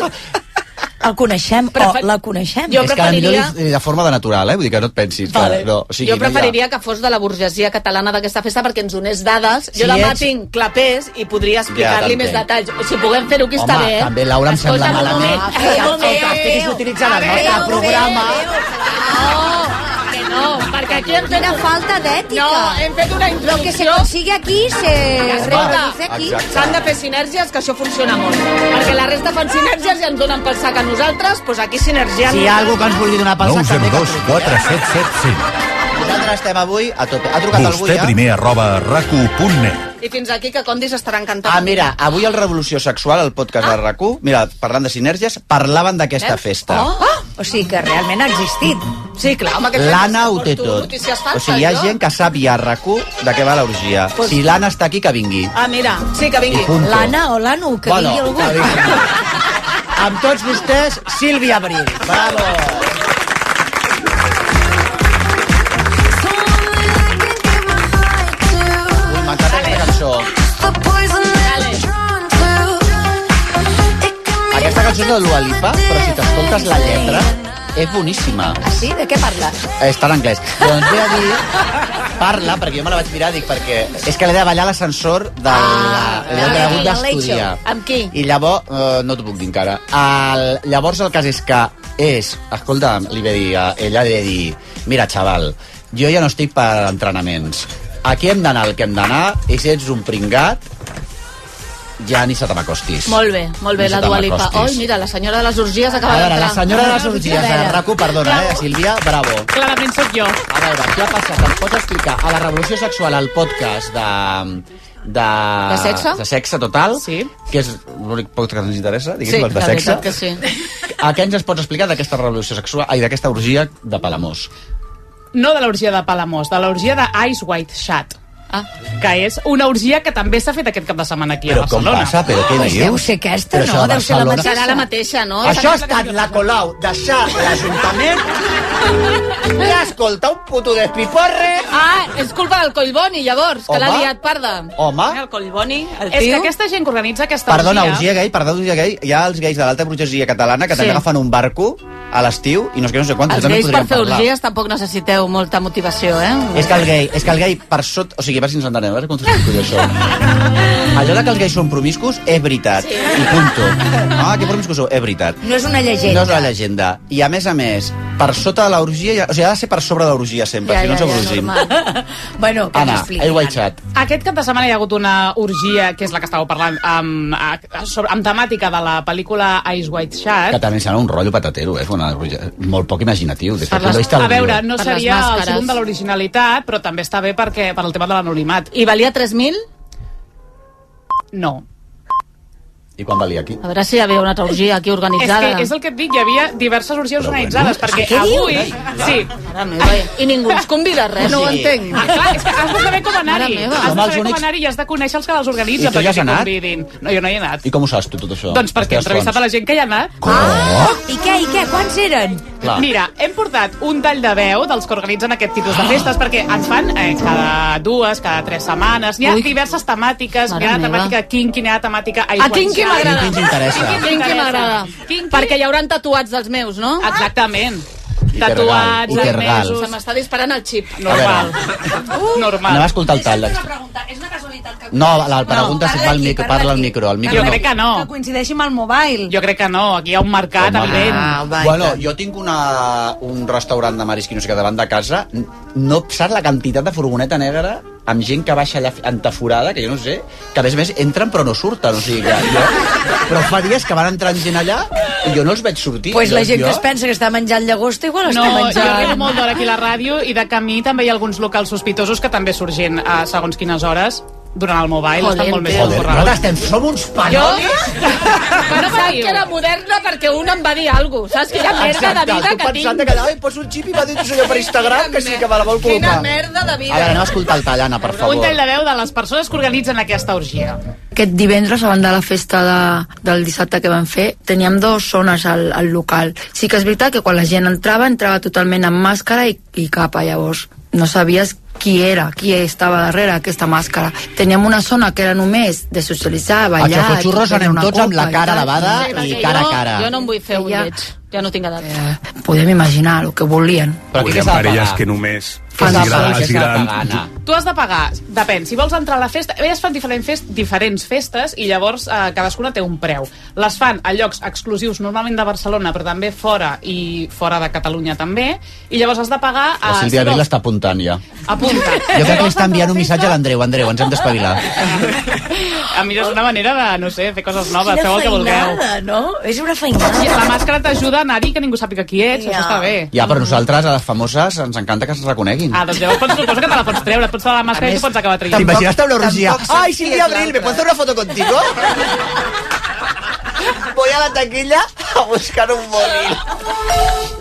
el coneixem Prefer- o la coneixem. Jo és que a la preferiria- millor li- de forma de natural, eh? Vull dir que no et pensis. Vale. Que, no, o sigui, jo no hi ha- preferiria que fos de la burgesia catalana d'aquesta festa perquè ens donés dades. Jo Si demà ets- tinc clapers i podria explicar-li Ja, més t'entenc. detalls. Si puguem fer-ho, que està Home, bé. eh? també, Laura, em sembla Escolta'm un malament. moment, Ai, un moment. escolta, estiguis utilitzant el nostre Adéu, programa. adéu. No, que no, perquè aquí hem fet Quina falta d'ètica. No, hem fet una introducció. Lo que se consigue aquí se reproduce Escolta, aquí. Exacte. s'han de fer sinergies, que això funciona molt. Perquè la resta fan sinergies i ens donen pel sac a nosaltres, doncs aquí sinergiem. Si hi ha algú que ens vulgui donar pel sac, també que 902 477 100. Nosaltres estem avui a tope. Ha trucat algú Vostè ja? primer arroba racu.net. I fins aquí que Condis estarà encantat. Ah, mira, avui al Revolució Sexual, el podcast Ah. de rac mira, parlant de sinèrgies, parlaven d'aquesta Veus? festa. Oh! O sigui que realment ha existit. Sí, clar, Oh, home, que L'Anna ho té tot. O sigui, hi ha gent que sap ja rac de què va l'orgia. Pues- Si l'Anna està aquí, que vingui. Ah, mira, sí, que I punto. L'Anna o l'Anu, que Bueno, digui algú. que digui. Amb tots vostès, Sílvia Abril. Bravo! Ui, m'encanta aquesta cançó. Aquesta cançó és de Dua Lipa, però si t'escoltes la lletra, és boníssima. Ah, sí? De què parla? Està en anglès. Doncs ve a dir... Parla, perquè jo me la vaig mirar, dic, perquè... És que l'he de ballar a l'ascensor de la... Ah, l'he la- hagut la d'estudiar. Late Show. Amb qui? I llavors, eh, no t'ho puc dir encara, el, llavors el cas és que és, escolta, li ve dir, a- ella li ve dir, mira, xaval, jo ja no estic per entrenaments. Aquí hem d'anar el que hem d'anar, i si ets un pringat, ja ni se te m'acostis. Molt bé, molt bé, Ni se la te Dua Lipa. m'acostis. Oi, mira, la senyora de les orgies A acaba veure, d'entrar. la senyora de les orgies de RACU, perdona, eh, Sílvia, bravo. Clarament sóc jo. A veure, què ha passat? Em pots explicar? A la revolució sexual, al podcast de... De, De sexe? De sexe total, sí. que és l'únic podcast que ens interessa, diguéssim, el de la sexe. veritat que sí. A què ens es pots explicar d'aquesta revolució sexual, ai, d'aquesta orgia de Palamós? no de l'orgia de Palamós, de l'orgia de Ice White Shut. Ah. que és una orgia que també s'ha fet aquest cap de setmana aquí Però a com Barcelona. passa? Però què Pues dius? deu ser aquesta, Però no? això de Deu ser la Barcelona- mateixa. Serà la mateixa, no? Això ha estat la Colau deixar l'Ajuntament i escoltar un puto despiporre. Ah, és culpa del Collboni, llavors, que l'ha Home. liat parda. Home. El Collboni, el És que tio. aquesta gent que organitza aquesta Perdona, orgia... orgia gai, perdona, orgia gai, hi ha els gais de l'alta burgesia catalana que Sí. també agafen un barco a l'estiu i no sé què, no sé quantos. Els també gais per podríem fer parlar. orgies tampoc necessiteu molta motivació, eh? És que el gai, és que el gai per sota... O sigui, a veure si ens entenem, a veure com t'explico jo això. Allò de que els gais són promiscus és veritat. I punto. Ah, que promiscus sou? És veritat. No és una llegenda. No és la llegenda. I a més a més, per sota de l'orgia... ja- O sigui, ha de ser per sobre de l'orgia sempre, Ja, si no ja, ens ja, avorrim. Bueno, que Anna, t'expliqui. el WhatsApp. Aquest cap de setmana hi ha hagut una orgia, que és la que estàveu parlant, amb, a- sobre, amb temàtica de la pel·lícula Ice White Que Shut. també serà un rotllo patatero, eh? Una, molt poc imaginatiu. Des del punt de vista a del veure, guió. no Per les seria el màscares. segon de l'originalitat, però també està bé perquè per al tema de l'anonimat. I valia 3.000? No. I quan valia aquí? A veure si hi havia una altra orgia aquí És, organitzada. que, és el que et dic, hi havia diverses orgies organitzades, bueno. perquè Ah, què avui... dius? Sí. I ningú ens convida a res. No ho entenc. Ah, clar, és que has de saber com Mare anar-hi. meva. Has de Som els saber com únics- anar-hi i has de conèixer els que les I organitzen tu ja perquè has t'hi anat? convidin. No, jo no hi he anat. I com ho saps tu, tot això? Doncs perquè he Les teves entrevistat a la gent que hi ha anat. Ah, i què, i què? Quants eren? Clar. Mira, hem portat un tall de veu dels que organitzen aquest tipus de festes, perquè ens fan eh, cada dues, cada tres setmanes. N'hi ha Ui. diverses temàtiques, Mare n'hi ha meva. temàtica kinky, n'hi ha temàtica... A Kinky m'agrada. Kinky ens interessa. Kinky m'agrada. Perquè hi hauran tatuats dels meus, no? Exactament. I te regal, i Tatuats, te eh, regal. admesos... Se m'està disparant el xip. Normal. Normal. Uh. Anava a escoltar el tal. No, la pregunta no, si al micro, parla al micro, al micro. Jo crec que no. Que coincideixi amb el mobile. Jo crec que no, aquí hi ha un Ah, mercat Home. evident. Bueno, jo tinc una, un restaurant de marisc i no sé què davant de casa. N- No saps la quantitat de furgoneta negra amb gent que baixa allà entaforada, que jo no sé, que a més a més entren però no surten, o sigui que jo... Però fa dies que van entrant gent allà i jo no els veig sortir. Pues la Jo- gent jo... que es pensa que està menjant llagosta igual No, està jo menjant... arribo molt d'hora aquí a la ràdio i de camí també hi ha alguns locals sospitosos que també surgen a segons quines hores durant el eh, mobile, Joder, estan molt més Joder, emborrats. nosaltres estem, som uns panolis. Pensava que era moderna perquè un em va dir alguna cosa, saps? Que era merda de vida que tinc. que allà, poso un xip i m'ha dit això jo per Instagram, que sí que me la vol Quina col·locar. merda de A veure, anem a escoltar el tall, Anna, per Un favor. tall de veu de les persones que organitzen aquesta orgia. Aquest divendres, abans de la festa de, del dissabte que vam fer, teníem dues zones al, al local. Sí que és veritat que quan la gent entrava, entrava totalment amb màscara i, i capa, llavors. No sabies qui era, qui estava darrere aquesta màscara. Teníem una zona que era només de socialitzar, A ballar... Xocotxurros prendre anem una tots amb copa la i cara tal. lavada Sí, i perquè cara a jo- cara. Eh, Jo no em vull fer un lleig. Ja no tinc edat. Podem imaginar el que volien. Però Volien parelles que només Fan els agrada- sol, els que agraden- Tu has de pagar, depèn, si vols entrar a la festa... Elles fan diferent fest, diferents festes i llavors eh, cadascuna té un preu. Les fan a llocs exclusius, normalment de Barcelona, però també fora i fora de Catalunya també, i llavors has de pagar... La Ah, eh, Sílvia si Abril vols- està apuntant ja. Apunta. Jo crec que li està enviant un missatge a l'Andreu. Andreu, ens hem d'espavilar. A mi és una manera de, no sé, fer coses noves, feu el que vulgueu. no? És una feinada. I la màscara t'ajuda a anar-hi que ningú sàpiga qui ets, això està bé. Ja, però nosaltres, a les famoses, ens encanta que ens reconeguin. Ah, doncs llavors pots, suposo que te la pots treure, et pots treure la màscara i t'ho pots acabar traient. T'imagines una orgia? tampoc sé Ai, qui Sílvia és Abril, ¿me puedes hacer una foto contigo? Voy a la taquilla a buscar un mòbil.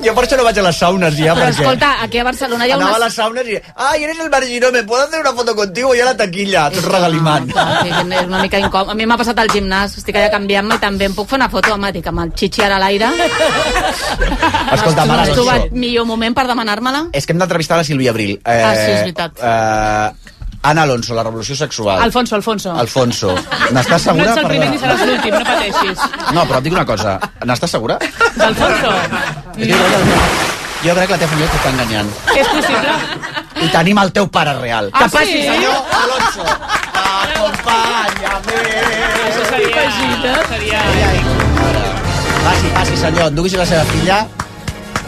Jo per això no vaig a les saunes ja, Però perquè... escolta, aquí a Barcelona hi ha Anava a unes... les saunes i... Ai, eres el marginó, ¿me puedo hacer una foto contigo? I a la taquilla, tot regalimant. Sí, és una mica incòmode. A mi m'ha passat al gimnàs, estic allà canviant-me i també em puc fer una foto, home, dic, amb el xixi ara a l'aire. Escolta, mare, Has doncs això. trobat millor moment per demanar-me-la? És que hem d'entrevistar la Sílvia Abril. Eh, Ah, sí, és veritat. Eh, Anna Alonso, la revolució sexual. Alfonso, Alfonso. Alfonso. N'estàs segura? No ets el primer Perdona. ni seràs l'últim, no pateixis. No, però et dic una cosa. N'estàs segura? Alfonso, Jo crec que la teva família t'està enganyant. és possible? I tenim el teu pare real. Ah, sí? Alonso. Acompanya'm. Això seria... seria... Passi, passi, senyor. Enduguis la seva filla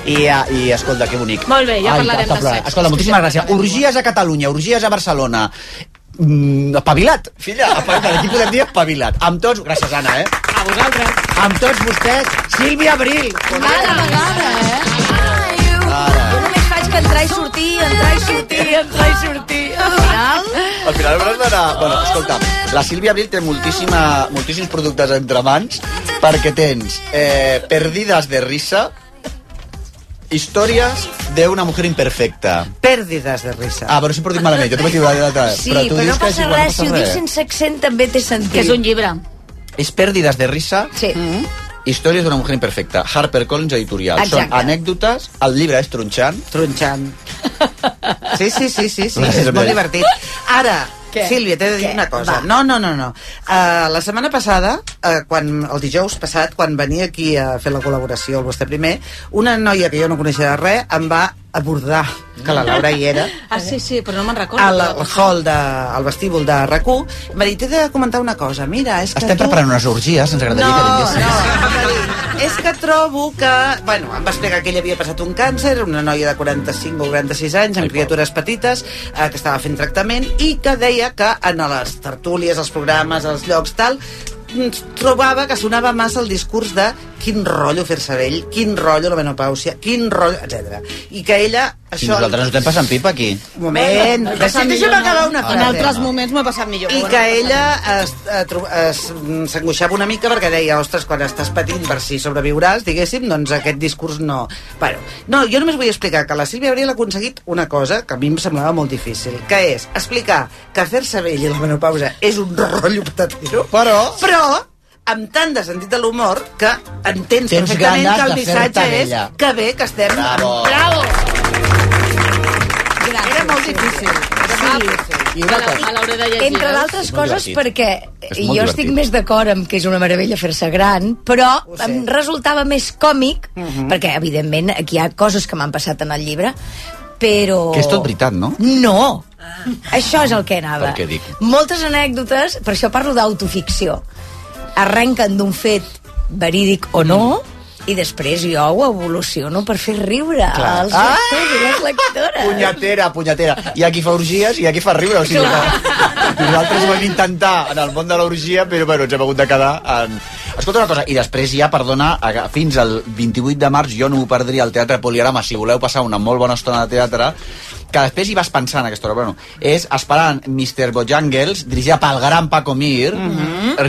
i, eh, i escolta, que bonic. Molt bé, ja Ai, parlarem està de plorant. sexe. Escolta, moltíssimes gràcies. Orgies a Catalunya, orgies a Barcelona. Mm, espavilat, filla, espavilat. Aquí podem dir espavilat. Amb tots, gràcies, Anna, eh? A vosaltres. Amb tots vostès, Sílvia Abril. Cada vegada, eh? Ara. Jo només faig que entrar i sortir, entrar i sortir, entrar i sortir. Al final... Al final hauràs d'anar... Bueno, escolta, la Sílvia Abril té moltíssima, moltíssims productes entre mans perquè tens eh, perdides de risa, històries de una mujer imperfecta. Pèrdides de risa. Ah, però sempre ho dic malament, jo t'ho vaig dir l'altre. Sí, però, tu dius no que és passa igual, res, si ho dius sense accent també té sentit. Que és un llibre. És pèrdides de risa, Mm. Sí. històries d'una mujer imperfecta. Harper Collins editorial. Exacte. Són anècdotes, el llibre és tronxant. Tronxant. Sí, sí, sí, sí, sí. Gràcies, és molt Mireia. divertit. Ara, Què? Sílvia, t'he de dir Què? una cosa. Va. No, no, no, no. Uh, la setmana passada, uh, quan, el dijous passat, quan venia aquí a fer la col·laboració al vostre primer, una noia que jo no coneixia de res em va abordar, que la Laura hi era, Ah, sí, sí, però no me'n recordo. al, al hall, de, al vestíbul de RAC1, em va dir, t'he de comentar una cosa, mira, és que Estem tu... preparant unes orgies, ens agradaria No, que vinguessis. És que trobo que... Bueno, em va explicar que ell havia passat un càncer, una noia de 45 o 46 anys, amb criatures petites, eh, que estava fent tractament, i que deia que en les tertúlies, els programes, els llocs, tal, mm, trobava que sonava massa el discurs de quin rotllo fer-se vell, quin rotllo la menopàusia, quin rotllo, etc. I que ella... I Això, nosaltres ens estem passant pipa aquí. Un moment, deixa'm deixa'm acabar una frase. En altres moments m'ho he passat millor. I Bueno, que ella es- eh, tro- es- mm, s'angoixava una mica perquè deia, ostres, quan estàs patint per si sobreviuràs, diguéssim, doncs aquest discurs no... Bueno, no, jo només vull explicar que la Sílvia Abril ha aconseguit una cosa que a mi em semblava molt difícil, que és explicar que fer-se vell i la menopausa és un rotllo patatero, però... però amb tant de sentit de l'humor que entens Tens perfectament ganes que de el missatge fer-te és vella. que bé que estem... Oh. Bravo. Bravo! Gràcies. Era molt difícil. Sí. una cosa. a l'hauré de llegir. Entre veus? d'altres És molt coses divertit. perquè És jo molt estic divertit. més d'acord amb que és una meravella fer-se gran, però Ho sé. Mhm. em resultava més còmic, perquè evidentment aquí hi ha coses que m'han passat en el llibre, però... Que és tot veritat, no? No! Ah. Això és el que anava. Per què dic? Moltes anècdotes, per això parlo d'autoficció, arrenquen d'un fet verídic o no, i després jo ho evoluciono per fer riure Mhm. Clar. Ah! als lectors i les lectores. Punyatera, punyatera. Hi ha qui fa orgies i hi ha qui fa riure. O sigui que nosaltres ho vam intentar en el món de l'orgia, però bueno, ens hem hagut de quedar en... Escolta una cosa, i després ja, perdona, aga- fins al 28 de març jo no m'ho perdria al Teatre Poligrama, si voleu passar una molt bona estona de teatre, que després hi vas pensant a aquesta hora, bueno, és esperant Mr. Bojangles, dirigida pel gran Paco Mir,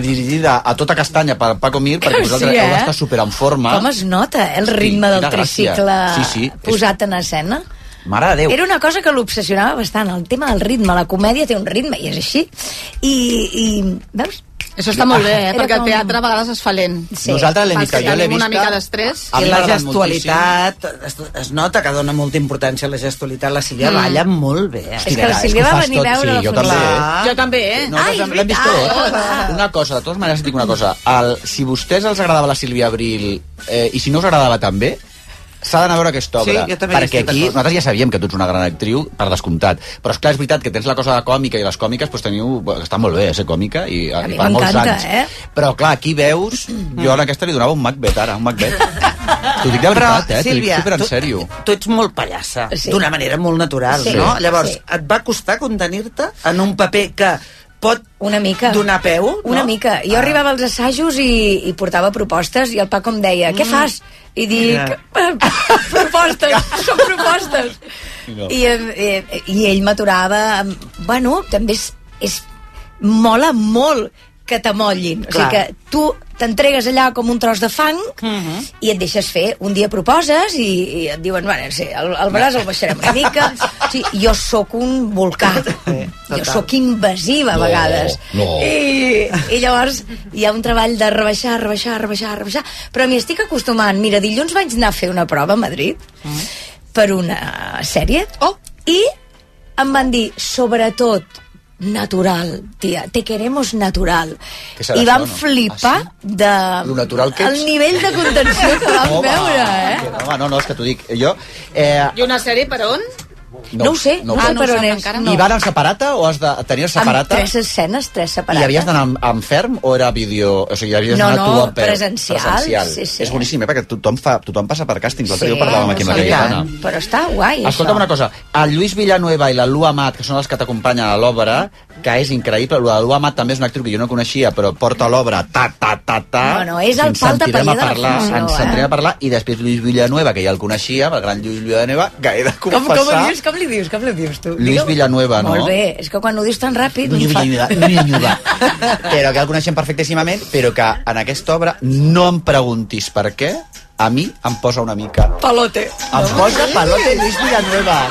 dirigida a tota castanya per Paco Mir, perquè Que Mhm. sí, vosaltres heu eh? d'estar super en forma. Com es nota, eh, el Sí, ritme del quina gràcia. tricicle Sí, sí, és- posat en escena? Mare de Déu. Era una cosa que l'obsessionava bastant, el tema del ritme. La comèdia té un ritme, i és així. I, i veus? Això està molt bé, eh? Era perquè el com- teatre a vegades es fa lent. Sí. Nosaltres l'hem Pels vist, que que jo l'he tenim una vista- mica d'estrès. A mi I la m'ha agradat gestualitat, es, es nota que dona molta importància a la gestualitat. La Sílvia Mm. mm. balla molt bé. És que la Mira, Sílvia és que ho va fas venir a tot, veure sí, la jo també, funció. Jo també, eh? Nosaltres Ai, l'hem vist tot. Ah. Una cosa, de totes maneres et dic una cosa. El, si a vostès els agradava la Sílvia Abril eh, i si no us agradava també, s'ha d'anar a veure aquesta obra. Sí, jo també hi perquè estic aquí d'acord. nosaltres ja sabíem que tu ets una gran actriu, per descomptat. Però és clar, és veritat que tens la cosa de còmica i les còmiques doncs teniu... Està molt bé ser còmica i, mi i per molts m'encanta, anys. eh? Mm. Però clar, aquí veus... Jo en aquesta li donava un Macbeth ara, un Macbeth. T'ho dic de Però, veritat, eh? T'ho dic Sílvia, super en tu- sèrio. Tu ets molt pallassa, Sí. sí. d'una manera molt natural, Sí, sí. no? sí. Llavors, Sí. sí. et va costar contenir-te en un paper que pot Una mica. donar peu? Una no? mica. Ah. Jo arribava als assajos i, i portava propostes i el Paco em deia, Mm. què fas? I dic, "Eh, Mira. propostes, són propostes. Vinga. I, eh, eh, i ell m'aturava amb- bueno, també és, és mola molt que t'amollin o sigui Clar. que tu t'entregues allà com un tros de fang Mm. Mm-hmm. i et deixes fer un dia proposes i, i et diuen, bueno, sí, el, el braç el baixarem una mica o sigui, jo sóc un volcà jo sóc invasiva a No, vegades no. I, i llavors hi ha un treball de rebaixar, rebaixar, rebaixar, rebaixar però m'hi estic acostumant mira, dilluns vaig anar a fer una prova a Madrid per una sèrie oh. i em van dir, sobretot, natural, tia, te queremos natural. Què serà I vam això, no? flipar de... Lo natural que el ets. nivell de contenció que vam Home, veure, eh? Home, no, no, és que t'ho dic. Jo... Eh, I una sèrie per on? No ho sé, Ah, no sé ho per on és. I van al separata o has de tenir el Amb separata? tres escenes, tres I separades. havies d'anar amb, amb ferm o era vídeo... O sigui, havies No, d'anar no, tu amb per- presencial, sí, sí. És boníssim, eh? perquè tothom, fa, tothom passa per càstings. L'altre Sí, sí, jo parlàvem aquí amb la sí, Cayetana. tant. Però està guai, Escolta'm una això. cosa, el Lluís Villanueva i la Lu Amat, que són els que t'acompanyen a l'obra, que és increïble, la Lu Amat també és una actriu que jo no coneixia, però porta l'obra ta, ta, ta, ta... No, no, és el Ens pal de sentirem paller de a la parlar, funció, Ens eh? sentirem a parlar, i després Lluís Villanueva, que ja el coneixia, el gran Lluís Villanueva, que he de Com, confessar... com, ho dius, com li dius? Com li dius, tu? Lluís Villanueva, no? Molt bé, és que quan ho dius tan ràpid... Lluís em fa- Villanueva, Villanueva. però que el coneixem perfectíssimament, però que en aquesta obra no em preguntis per què, a mi em posa una mica. Palote. Em posa pelote Lluís Villanueva.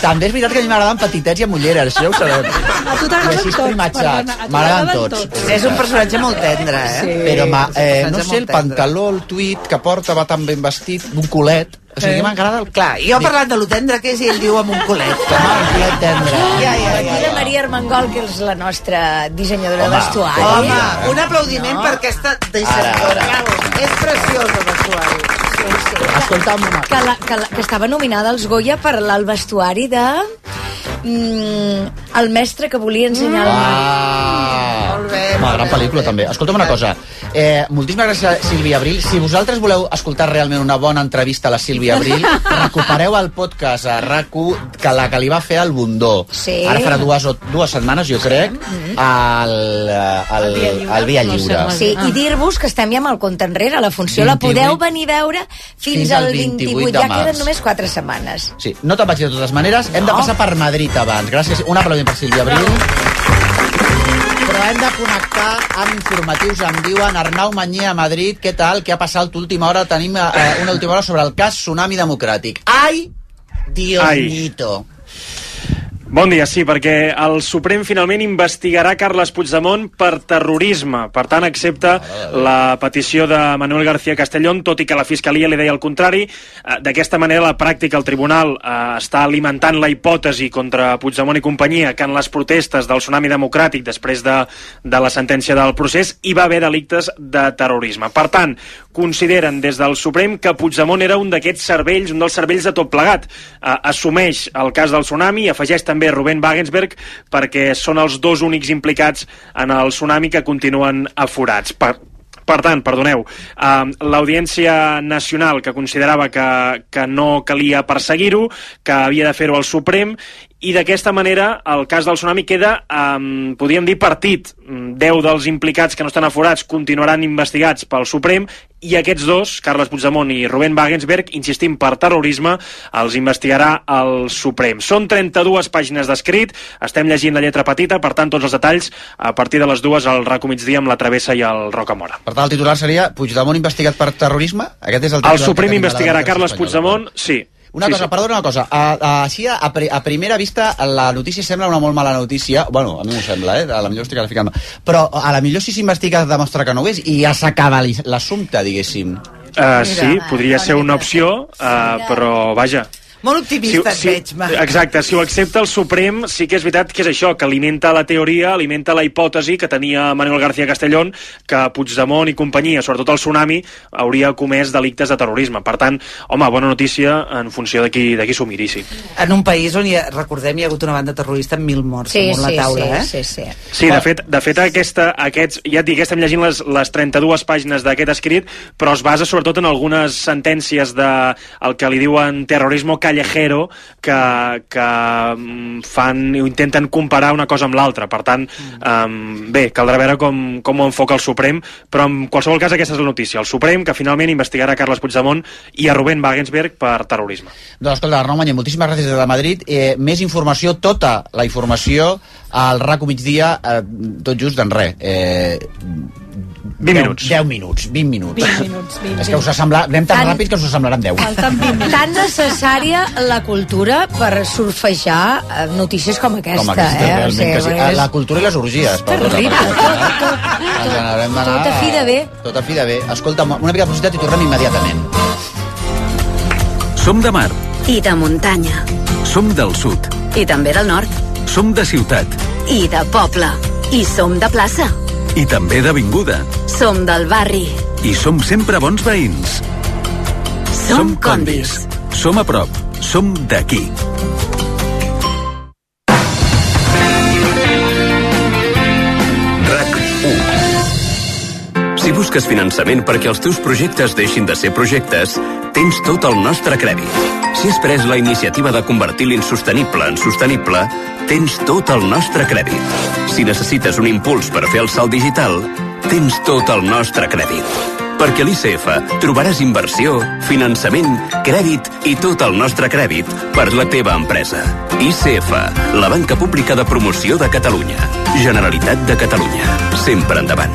També és veritat que a mi m'agraden petitets i amb ulleres, això ja ho sabem. A tu I t'agraden així tots, primatxats. perdona, a tu M'agraden t'agraden tots. tots. És un personatge molt tendre, eh? Sí, Però, ma, és un eh, no sé, personatge el molt tendre. pantaló, el tuit que porta, va tan ben vestit, un culet... O sigui, Eh? eh? m'agrada el... Clar, jo parlant de lo tendre que és i ell diu amb un culet. Home, el culet tendre. Ja, ja, ja. Aquí la Maria Armengol, que és la nostra dissenyadora Home, de vestuari. home, un aplaudiment no? per aquesta dissenyadora. És preciós el vestuari. Sí, sí. Escolta un moment. Que, la, que, la, que estava nominada als Goya per la- el vestuari de... Mm, el mestre que volia ensenyar mm. Ah, una gran pel·lícula, també. Escolta'm una cosa. Eh, moltíssimes gràcies, Sílvia Abril. Si vosaltres voleu escoltar realment una bona entrevista a la Sílvia Abril, recupereu el podcast a rac que la que li va fer el Bundó. Sí. Ara farà dues, o, dues setmanes, jo crec, al, eh, al, al Mm. Via Lliure. Sí, i dir-vos que estem ja amb el compte enrere, la funció la 28. podeu venir a veure fins, Fins al al 28 28, de ja març. queden només 4 setmanes. Sí, no te'n vaig de totes maneres. Hem de passar per Madrid abans. Gràcies. Un aplaudiment per Sílvia Abril. Però hem de connectar amb informatius. Em diuen Arnau Manyé a Madrid. Què tal? Què ha passat l'última hora? Tenim eh, una última hora sobre el cas Tsunami Democràtic. Ai, Dionito. Bon dia, sí, perquè el Suprem finalment investigarà Carles Puigdemont per terrorisme. Per tant, accepta la petició de Manuel García Castellón, tot i que la Fiscalia li deia el contrari. Eh, D'aquesta manera, la pràctica, el Tribunal eh, està alimentant la hipòtesi contra Puigdemont i companyia que en les protestes del tsunami democràtic després de, de la sentència del procés hi va haver delictes de terrorisme. Per tant, consideren des del Suprem que Puigdemont era un d'aquests cervells, un dels cervells de tot plegat. Eh, assumeix el cas del tsunami i afegeix també Rubén Wagensberg perquè són els dos únics implicats en el tsunami que continuen aforats. Per, per tant, perdoneu, eh, l'Audiència Nacional que considerava que, que no calia perseguir-ho, que havia de fer-ho el Suprem, i d'aquesta manera el cas del tsunami queda, eh, podríem dir, partit. 10 dels implicats que no estan aforats continuaran investigats pel Suprem i aquests dos, Carles Puigdemont i Rubén Wagensberg, insistim per terrorisme, els investigarà el Suprem. Són 32 pàgines d'escrit, estem llegint la lletra petita, per tant, tots els detalls a partir de les dues al recomitzdia amb la travessa i el Rocamora. Per tant, el titular seria Puigdemont investigat per terrorisme? Aquest és el titular El Suprem que tenim a la investigarà democràcia Carles espanyola. Puigdemont, sí. Una sí, cosa, sí. perdona una cosa. A, a, així, a, pri- a primera vista, la notícia sembla una molt mala notícia. Bueno, a mi m'ho sembla, eh? A la millor estic ara ficant... Però a la millor si s'investiga es demostra que no ho és i ja s'acaba l'is- l'assumpte, diguéssim. Uh, sí, podria ser una opció, uh, però vaja. Molt optimista et veig, Marc. Exacte, si ho accepta el Suprem, sí que és veritat que és això, que alimenta la teoria, alimenta la hipòtesi que tenia Manuel García Castellón, que Puigdemont i companyia, sobretot el Tsunami, hauria comès delictes de terrorisme. Per tant, home, bona notícia en funció de qui, de qui s'ho miri, sí. En un país on, hi ha, recordem, hi ha hagut una banda terrorista amb mil morts Sí, damunt sí, la taula, eh? sí, sí, sí. Sí, de fet, de fet aquesta, aquests, ja et dic, estem llegint les, les 32 pàgines d'aquest escrit, però es basa sobretot en algunes sentències de el que li diuen terrorismo callejero, que, que mm, fan, o intenten comparar una cosa amb l'altra. Per tant, um, bé, caldrà veure com, com ho enfoca el Suprem, però en qualsevol cas aquesta és la notícia. El Suprem, que finalment investigarà Carles Puigdemont i a Rubén Wagensberg per terrorisme. Doncs escolta, Arnau Manyer, moltíssimes gràcies des de Madrid. Eh, més informació, tota la informació, al RACO migdia, eh, tot just en res. Eh, 20 minuts. 10 minuts, 20 minuts. 20 minuts, 20 És que us ha semblat, anem tan, Tant- ràpid que us ho semblaran 10. Tan necessària la cultura per surfejar eh, notícies com aquesta, Com aquesta, eh? realment, que sí. Ah, La cultura i les orgies, perdona. terrible. perquè- Ens en haurem d'anar... Tot a Tota fi de bé. Tot a fi de bé. Escolta, una mica de publicitat i tornem immediatament. Som de mar, I de muntanya. som del sud, I també del nord. som de ciutat I de poble. I som de plaça. i també d'avinguda. Som del barri. I som sempre bons veïns. Som Condis. Som a prop. Som d'aquí. RAC 1 Si busques finançament perquè els teus projectes deixin de ser projectes, tens tot el nostre crèdit. Si has pres la iniciativa de convertir l'insostenible en sostenible, tens tot el nostre crèdit. Si necessites un impuls per fer el salt digital, tens tot el nostre crèdit. Perquè a l'ICF trobaràs inversió, finançament, crèdit i tot el nostre crèdit per la teva empresa. ICF, la banca pública de promoció de Catalunya. Generalitat de Catalunya. Sempre endavant.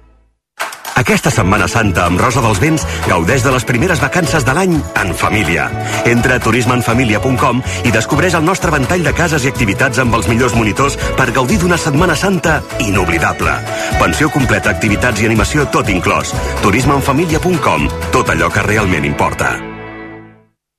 Aquesta Setmana Santa amb Rosa dels Vents gaudeix de les primeres vacances de l'any en família. Entra a turismeenfamilia.com i descobreix el nostre ventall de cases i activitats amb els millors monitors per gaudir d'una Setmana Santa inoblidable. Pensió completa, activitats i animació tot inclòs. turismeenfamilia.com, tot allò que realment importa.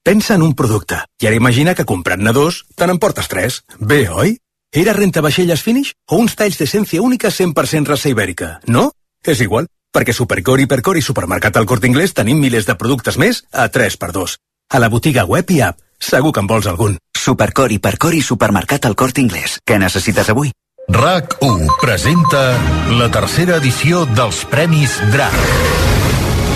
Pensa en un producte i ara imagina que comprant-ne dos te n'emportes tres. Bé, oi? Era rentavaixelles Finish o uns talls d'essència única 100% raça ibèrica, no? És igual, perquè Supercor, Hipercor i Supermercat al Corte Inglés tenim milers de productes més a 3x2. A la botiga web i app, segur que en vols algun. Supercor, Hipercor i Supermercat al Corte Inglés. Què necessites avui? RAC1 presenta la tercera edició dels Premis DRAC.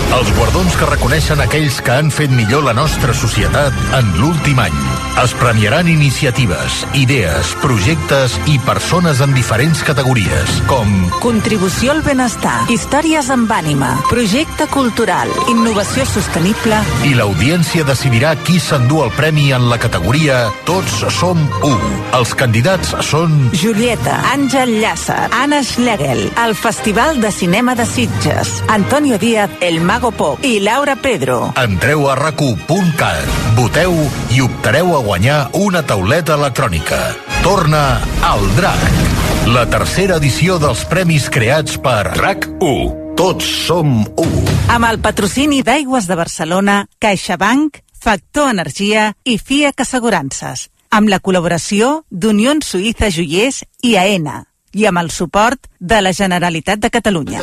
Els guardons que reconeixen aquells que han fet millor la nostra societat en l'últim any. Es premiaran iniciatives, idees, projectes i persones en diferents categories, com Contribució al benestar, històries amb ànima, projecte cultural, innovació sostenible... i l'audiència decidirà qui s'endú el premi en la categoria Tots som u. Els candidats són... Julieta, Àngel Llàcer, Anna Schlegel, el Festival de Cinema de Sitges, Antonio Díaz, El Mago Pop i Laura Pedro. Entreu a racu.cat, voteu i optareu a guanyar una tauleta electrònica. Torna al DRAC, la tercera edició dels premis creats per RAC1. Tots som u. Amb el patrocini d'Aigües de Barcelona, CaixaBank, Factor Energia i FIAC Assegurances, amb la col·laboració d'Unió Suïssa Joiers i AENA, i amb el suport de la Generalitat de Catalunya.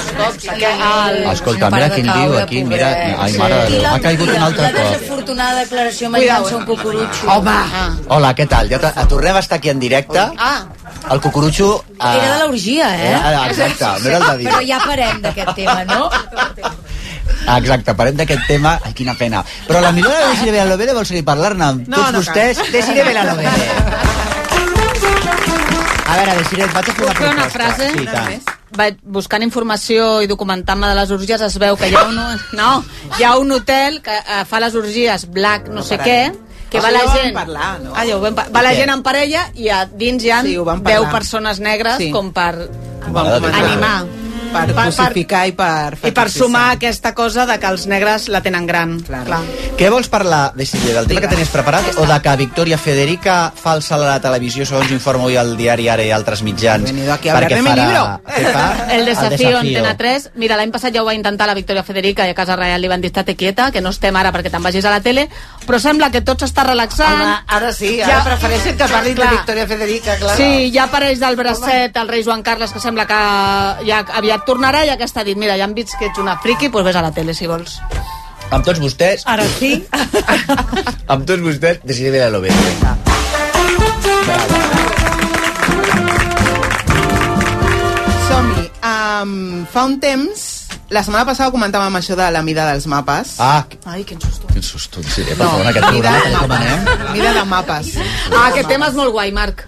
Escolta, mira qui en diu aquí, mira... Ai, mare de Déu, ha caigut un altre La cop. desafortunada declaració menjant-se un cucurutxo. Home! Hola, què tal? Ja t- tornem a estar aquí en directe. Ah, El cucurutxo... eh, era de l'orgia, eh? Era- exacte, no era el de dir. Però ja parem d'aquest tema, no? Exacte, parem d'aquest tema. Ai, quina pena. Però la millora de Desiree Belalobere vol seguir parlant-ne amb No, tots no vostès. cal. Desiree Belalobere. A veure, Desiree, et vaig a fer una Puc fer proposta. una frase? Sí, i tant. Vaig buscant informació i documentant-me de les orgies es veu que hi ha un, no, hi ha un hotel que eh, fa les orgies black no sé què que va la Això ja ho vam gent parlar, no? ah, ja ho vam, pa- va la Què? gent en parella i a dins hi ha Sí, ho vam 10 parlar. persones negres Sí. com per Mare de Déu. animar Per crucificar i per... i per sumar aquesta cosa de que els negres la tenen gran clar. Clar. Què vols parlar, Desiree, del tema que tenies preparat o de que Victoria Federica fa el salt a la televisió segons informa avui el diari Ara i altres mitjans? aquí a hablar de mi libro. Què fa? El desafío, Ah, desafío. Antena 3. Mira, l'any passat ja ho va intentar la Victoria Federica i a Casa Reial li van dir estate quieta, que no estem ara perquè te'n vagis a la tele, però sembla que tot s'està relaxant. Home, ara Ah, sí, ara prefereixen que parlis de Victoria Federica, clar. Sí, ja apareix del bracet el rei Joan Carles, que sembla que ja aviat tornarà, i aquesta ha dit, mira, ja hem vist que ets una friki, doncs vés a la tele, si vols. Amb tots vostès... Ara sí. Amb tots vostès, Desiree Belalobere. Ah, Som-hi. Um, fa un temps, la setmana passada comentàvem amb això de la mida dels mapes. Ah, Ai, quin susto. quin susto, Desiree, per favor, en aquest programa, eh? tal com anem. Mida de mapes. Ah, aquest tema és molt guai, Marc.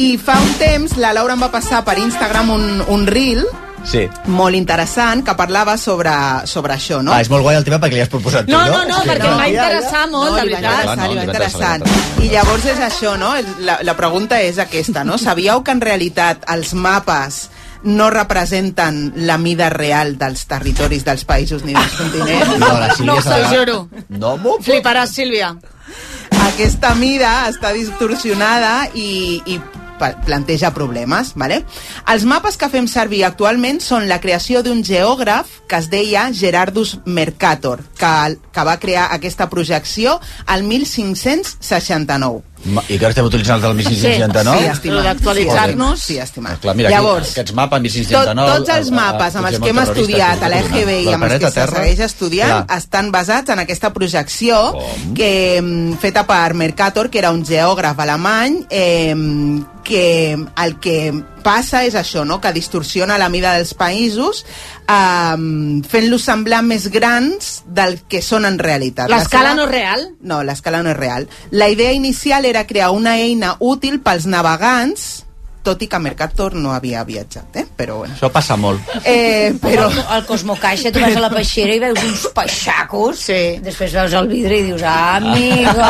I fa un temps la Laura em va passar per Instagram un, un reel Sí. molt interessant que parlava sobre, sobre això, no? Ah, és molt guai el tema perquè li has proposat tu, No, no? no, no, És que- perquè em va interessar molt, no, de li va veritat. interessar, Clar, no, li va li va interessar, interessant. I llavors és això, no? El- La, la pregunta és aquesta, no? Sabíeu que en realitat els mapes no representen la mida real dels territoris dels països ni dels continents? No, la Sílvia No, s'ha se'l de- juro. No, m'ho... Fliparàs, Sílvia. Aquesta mida està distorsionada i, i pa- planteja problemes, vale? Els mapes que fem servir actualment són la creació d'un geògraf que es deia Gerardus Mercator, que, que va crear aquesta projecció al 1569. Ma- I que ara estem utilitzant el del 1569? Sí, sí, estimat. D'actualitzar-nos. Sí, estimat. Clar, mira, Llavors, Llavors, aquests mapes 1569... Tot, tots els a- a- mapes amb els que Puigdemont hem terrorista, estudiat a etcètera, l'EGB i del amb els que planeta se Terra. segueix estudiant Clar. estan basats en aquesta projecció que, mm, feta per Mercator, que era un geògraf alemany, eh, que el que passa és això, no? que distorsiona la mida dels països eh, fent-los semblar més grans del que són en realitat. La L'escala seva- no és real? no, l'escala no és real. La idea inicial era crear una eina útil pels navegants, tot i que Mercator no havia viatjat, eh? però bueno. Això passa molt. Eh, però... Al, al Cosmocaixa tu vas a la peixera i veus uns peixacos, sí. després veus el vidre i dius, ah, amigo,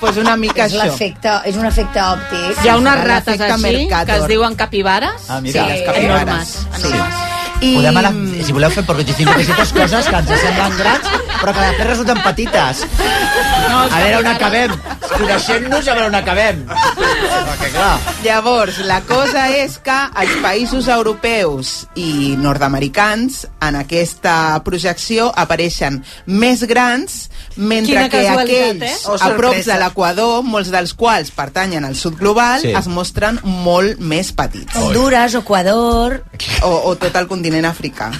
pues una mica és això. l'efecte, és un efecte òptic. Hi ha unes rates L'efecte així Mercator. que es diuen capibares. Eh, Ah, mira, les capibares. enormes. Sí. I- I... Podem anar, si voleu, fer per 25 pessetes coses que ens semblen grans, però que després resulten petites. No, a veure on acabem. Coneixent-nos, a veure on acabem. Perquè, clar... Llavors, la cosa és que els països europeus i nord-americans en aquesta projecció apareixen més grans, mentre Quina que casualitat, aquells eh? Oh, a prop sorpresa. de l'Equador, molts dels quals pertanyen al sud global, Sí. sí. es mostren molt més petits. Honduras, Equador... O, o tot el continent africà,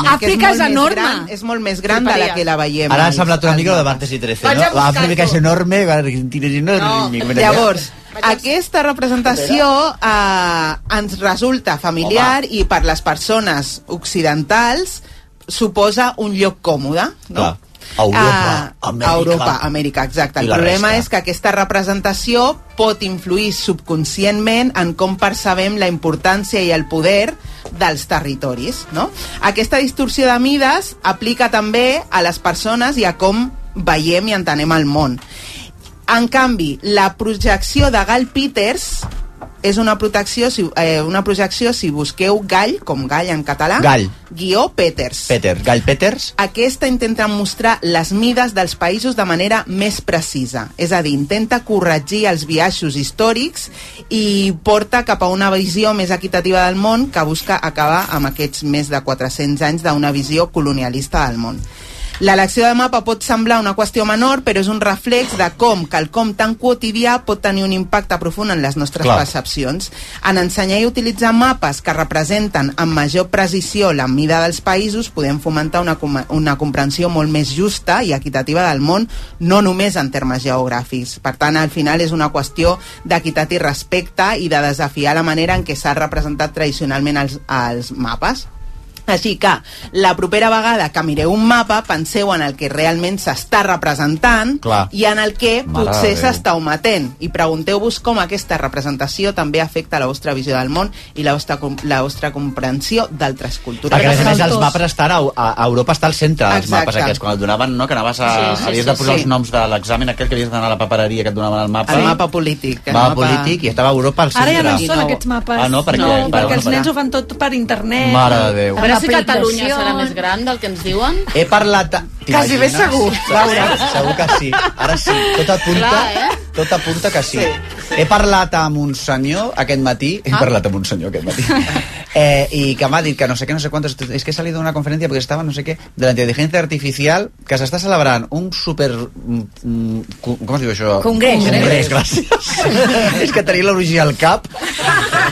No, que Àfrica és molt més enorme. Gran, és molt més gran de la que la veiem. Ara ha als- semblat una mica lo de Martes i 13, Vaig a no? La buscar-ho. Àfrica és enorme, Argentina és enorme... No. Llavors, aquesta representació eh, ens resulta familiar i per les persones occidentals suposa un lloc còmode. No? Clar. Europa, Ah, Amèrica. Europa, Amèrica, exacte. I El la problema resta. és que aquesta representació pot influir subconscientment en com percebem la importància i el poder dels territoris, no? Aquesta distorsió de mides aplica també a les persones i a com veiem i entenem el món. En canvi, la projecció de Gal Peters és una protecció, si, eh, una projecció si busqueu gall, com gall en català, Gall. guió Peters. Peter, Gall Peters... Aquesta intenta mostrar les mides dels països de manera més precisa, és a dir, intenta corregir els biaixos històrics i porta cap a una visió més equitativa del món que busca acabar amb aquests més de 400 anys d'una visió colonialista del món. L'elecció de mapa pot semblar una qüestió menor, però és un reflex de com quelcom tan quotidià pot tenir un impacte profund en les nostres Clar. Clar. percepcions. En ensenyar i utilitzar mapes que representen amb major precisió la mida dels països, podem fomentar una, com- una comprensió molt més justa i equitativa del món, no només en termes geogràfics. Per tant, al final és una qüestió d'equitat i respecte i de desafiar la manera en què s'ha representat tradicionalment els, els mapes. Així que la propera vegada que mireu un mapa penseu en el que realment s'està representant Clar. i en el que Mare potser de Déu. s'està ometent i pregunteu-vos com aquesta representació també afecta la vostra visió del món i la vostra, com- la vostra comprensió d'altres cultures. Perquè, a més a més, els mapes estan a, a a Europa està al centre, els Exacte. mapes aquests. Quan et donaven, no?, que anaves a... Sí, sí, havies sí, de posar sí. els noms de l'examen aquell que havies d'anar a la papereria que et donaven el mapa. El mapa polític. El mapa polític i estava Europa al centre. Ara ja no hi són aquests mapes. Ah, no, perquè... no, bueno, perquè els bueno. nens ho fan tot per internet. Mare de Déu. A veure si Catalunya Aplicacions. serà més gran del que ens diuen. He parlat... a- Quasi ben T'imagines? segur, Laura. Segur que sí. Ara sí. Tot apunta, Clar, eh? tot apunta que sí. He parlat amb un senyor aquest matí. Ah. He parlat amb un senyor aquest matí. Eh, y que me ha dit que no sé qué, no sé cuántos... Es que he salido de una conferencia porque estaba no sé qué, de la inteligencia artificial, que s'està celebrant un super... mm, cu- Com es diu això? Congrés. Congrés, gràcies. És que tenia l'orgia al cap.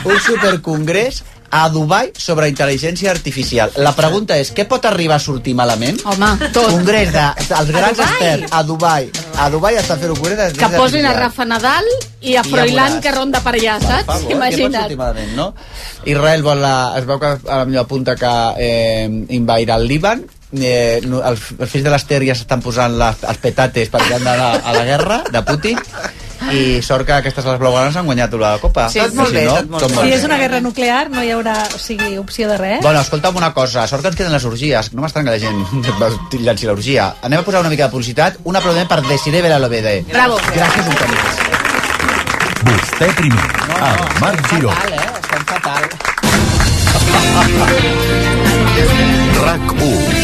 Un supercongrés a Dubai sobre intel·ligència artificial. La pregunta és, què pot arribar a sortir malament? Home, tot. Congrés de, dels grans Dubai? experts a Dubai. A Dubai estan fent un congrés Que d'intel·ligència posin a artificial. Rafa Nadal i a I a Froilán Boràs. que ronda per allà, Per saps? favor, que pot Imagina't. sortir malament, no? Israel vol la, es veu que a la millor apunta que eh, invairà el Líban eh, no, els, els fills de les tèries estan posant les, els petates perquè han d'anar a la guerra de Putin i sort que aquestes les blaugranes han guanyat la copa Sí, Que si no, tot molt Si bé. és una guerra nuclear, no hi haurà o sigui, opció de Eh? res. Bueno, escolta'm una cosa, sort que ens queden les orgies. No m'estranya que la gent llanci l'orgia. Anem a posar una mica de publicitat. Un aplaudiment per Desiree Belalobede. Bravo. Gràcies un cop més. Vostè primer, amb Marc Giró. Estem fatal. RAC1.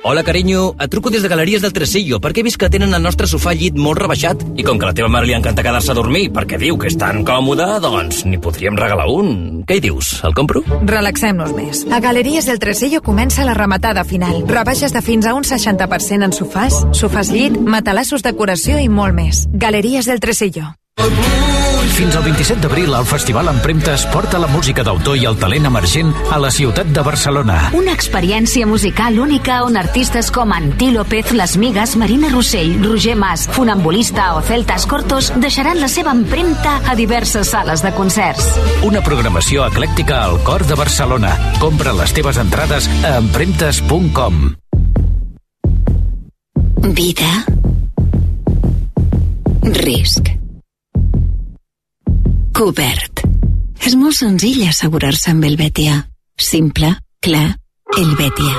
Hola, carinyo. Et truco des de Galeries del Tresillo perquè he vist que tenen el nostre sofà llit molt rebaixat i com que a la teva mare li encanta quedar-se a dormir perquè diu que és tan còmode, doncs n'hi podríem regalar un. Què hi dius? El compro? Relaxem-nos més. A Galeries del Tresillo comença la rematada final. Rebaixes de fins a un 60% en sofàs, sofàs llit, matalassos, decoració i molt més. Galeries del Tresillo. Fins al 27 d'abril, el Festival Empremtes porta la música d'autor i el talent emergent a la ciutat de Barcelona. Una experiència musical única on artistes com Antí López, Les Migues, Marina Rossell, Roger Mas, Funambulista o Celtas Cortos deixaran la seva empremta a diverses sales de concerts. Una programació eclèctica al cor de Barcelona. Compra les teves entrades a empremtes.com. Vida. Risc. Cobert. És molt senzill assegurar-se amb el Betia. Simple, clar, el Betia.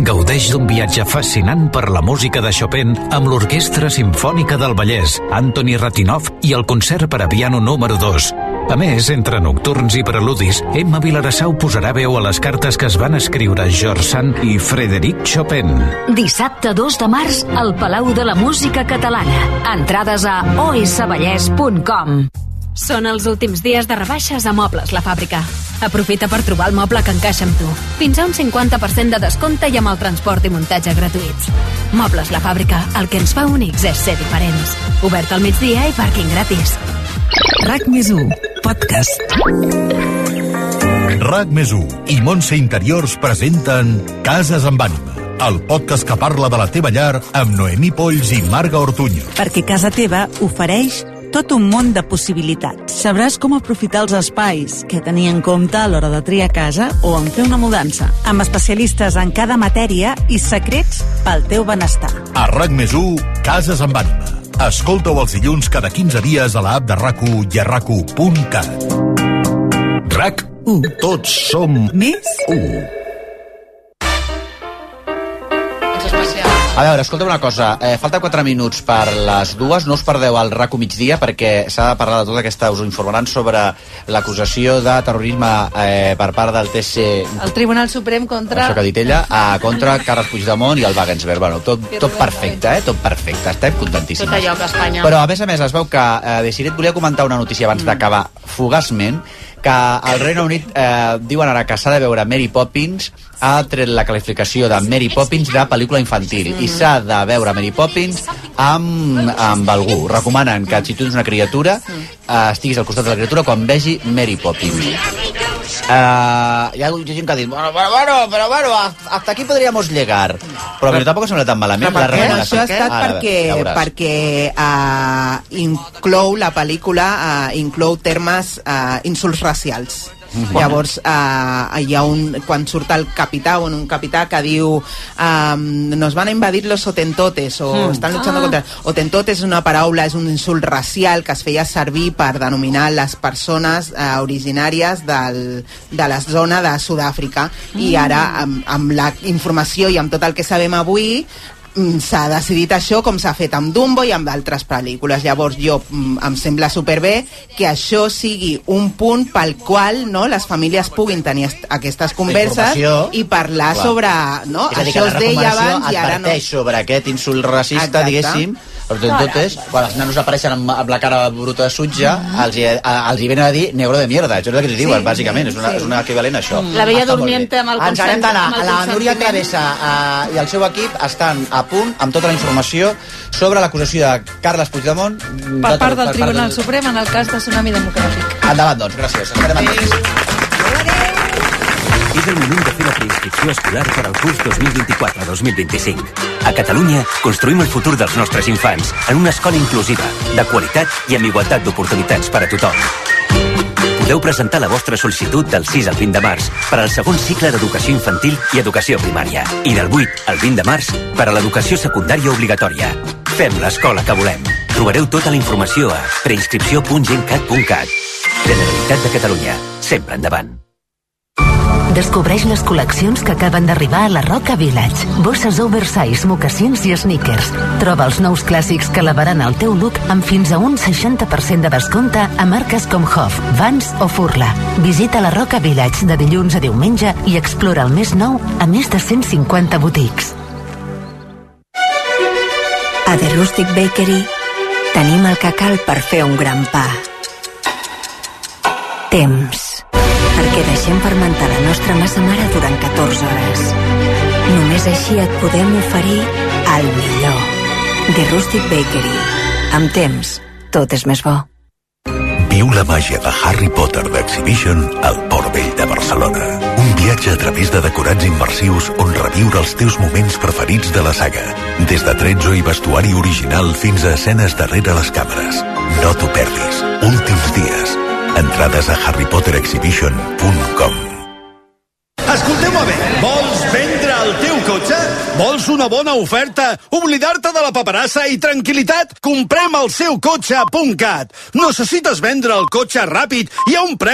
Gaudeix d'un viatge fascinant per la música de Chopin amb l'Orquestra Simfònica del Vallès, Anthony Ratinov i el concert per a piano número 2. A més, entre nocturns i preludis, Emma Vilarassau posarà veu a les cartes que es van escriure George Sand i Frederic Chopin. Dissabte 2 de març al Palau de la Música Catalana. Entrades a osvallès.com. Són els últims dies de rebaixes a Mobles La Fàbrica. Aprofita per trobar el moble que encaixa amb tu. Fins a un 50% de descompte i amb el transport i muntatge gratuïts. Mobles La Fàbrica, el que ens fa únics és ser diferents. Obert al migdia i pàrquing gratis. RAC més podcast. RAC més i Montse Interiors presenten Cases amb ànima, el podcast que parla de la teva llar amb Noemí Polls i Marga Ortuño. Perquè casa teva ofereix tot un món de possibilitats. Sabràs com aprofitar els espais, què tenir en compte a l'hora de triar casa o en fer una mudança. Amb especialistes en cada matèria i secrets pel teu benestar. A RAC més Cases amb ànima. Escolta-ho els dilluns cada 15 dies a l'app de RAC1 i a rac1.cat. RAC1. Tots som més 1. A veure, escolta una cosa, eh, falta 4 minuts per les dues, no us perdeu el RACO migdia perquè s'ha de parlar de tot aquesta, us ho informaran sobre l'acusació de terrorisme eh, per part del TC El Tribunal Suprem contra... Això que ha dit ella, a contra Carles Puigdemont i el Wagensberg. Bueno, tot, tot perfecte, eh? Tot perfecte. Estem Tot contentíssims. allò que Espanya... Mm. Però, a més a més, es veu que, eh, Desiret, volia comentar una notícia abans d'acabar fugaçment, que al Regne Unit eh, diuen ara que s'ha de veure Mary Poppins ha tret la qualificació de Mary Poppins de pel·lícula infantil Mm. i s'ha de veure Mary Poppins amb, amb algú. Recomanen que si tu ets una criatura Mm. eh, estiguis al costat de la criatura quan vegi Mary Poppins. Uh, hi ha gent que ha dit, bueno, bueno, bueno, però bueno, hasta aquí podríamos llegar. Però a mi tampoc sembla tan malament. Però per què? regla- Això ha estat Ara, perquè, ja veuràs. perquè uh, inclou la pel·lícula, uh, inclou termes uh, insults racials. Mhm. Llavors, eh, hi ha un, quan surt el capità o un capità que diu ehm, nos van a invadir los otentotes o Hmm. Mm. estan luchando Ah. contra... Otentotes és una paraula, és un insult racial que es feia servir per denominar les persones eh, originàries del, de la zona de Sud-àfrica Mm. i ara amb, amb la informació i amb tot el que sabem avui mm, s'ha decidit això com s'ha fet amb Dumbo i amb altres pel·lícules. Llavors jo mm, em sembla superbé que això sigui un punt pel qual no, les famílies puguin tenir est- aquestes converses informació. i parlar Clar. sobre... No, és a dir, això es deia abans i ara no. adverteix sobre aquest insult racista, Exacte. diguéssim, però tot, tot és, quan els nanos apareixen amb, amb la cara bruta de sutja, Mm. els, hi- a, els hi venen a dir negro de mierda, això és el que li diuen, bàsicament, és una, és una equivalent a Mm. això. La vella Està molt durmiente amb el Ens n'hem d'anar consens- amb a el la Núria consentiment. Travessa eh, i el seu equip estan a punt amb tota la informació sobre l'acusació de Carles Puigdemont Per part del Tribunal Suprem en el cas de Tsunami Democràtic. Endavant, doncs, gràcies. Estarem endavant. És el moment de fer la preinscripció escolar per al curs 2024-2025. A Catalunya construïm el futur dels nostres infants en una escola inclusiva, de qualitat i amb igualtat d'oportunitats per a tothom. Podeu presentar la vostra sol·licitud del 6 al 20 de març per al segon cicle d'educació infantil i educació primària i del 8 al 20 de març per a l'educació secundària obligatòria. Fem l'escola que volem. Trobareu tota la informació a preinscripció.gencat.cat. Generalitat de Catalunya. Sempre endavant. Descobreix les col·leccions que acaben d'arribar a la Roca Village. Bosses oversize, mocassins i sneakers. Troba els nous clàssics que elevaran el teu look amb fins a un 60% de descompte a marques com Hof, Vans o Furla. Visita la Roca Village de dilluns a diumenge i explora el més nou a més de 150 botics. A The Rustic Bakery tenim el que cal per fer un gran pa. Temps. Perquè deixem fermentar la nostra massa mare durant 14 hores. Només així et podem oferir el millor. The Rustic Bakery. Amb temps, tot és més bo. Viu la màgia de Harry Potter d'Exhibition al Port Vell de Barcelona. Un viatge a través de decorats immersius on reviure els teus moments preferits de la saga. Des de tretzo i vestuari original fins a escenes darrere les càmeres. No t'ho perdis. Últims dies. Entrades a harrypoterexhibition.com Escolteu-me bé, vols vendre el teu cotxe? Vols una bona oferta? Oblidar-te de la paperassa i tranquil·litat? Comprem el seu cotxe a puntcat. Necessites vendre el cotxe ràpid i a un preu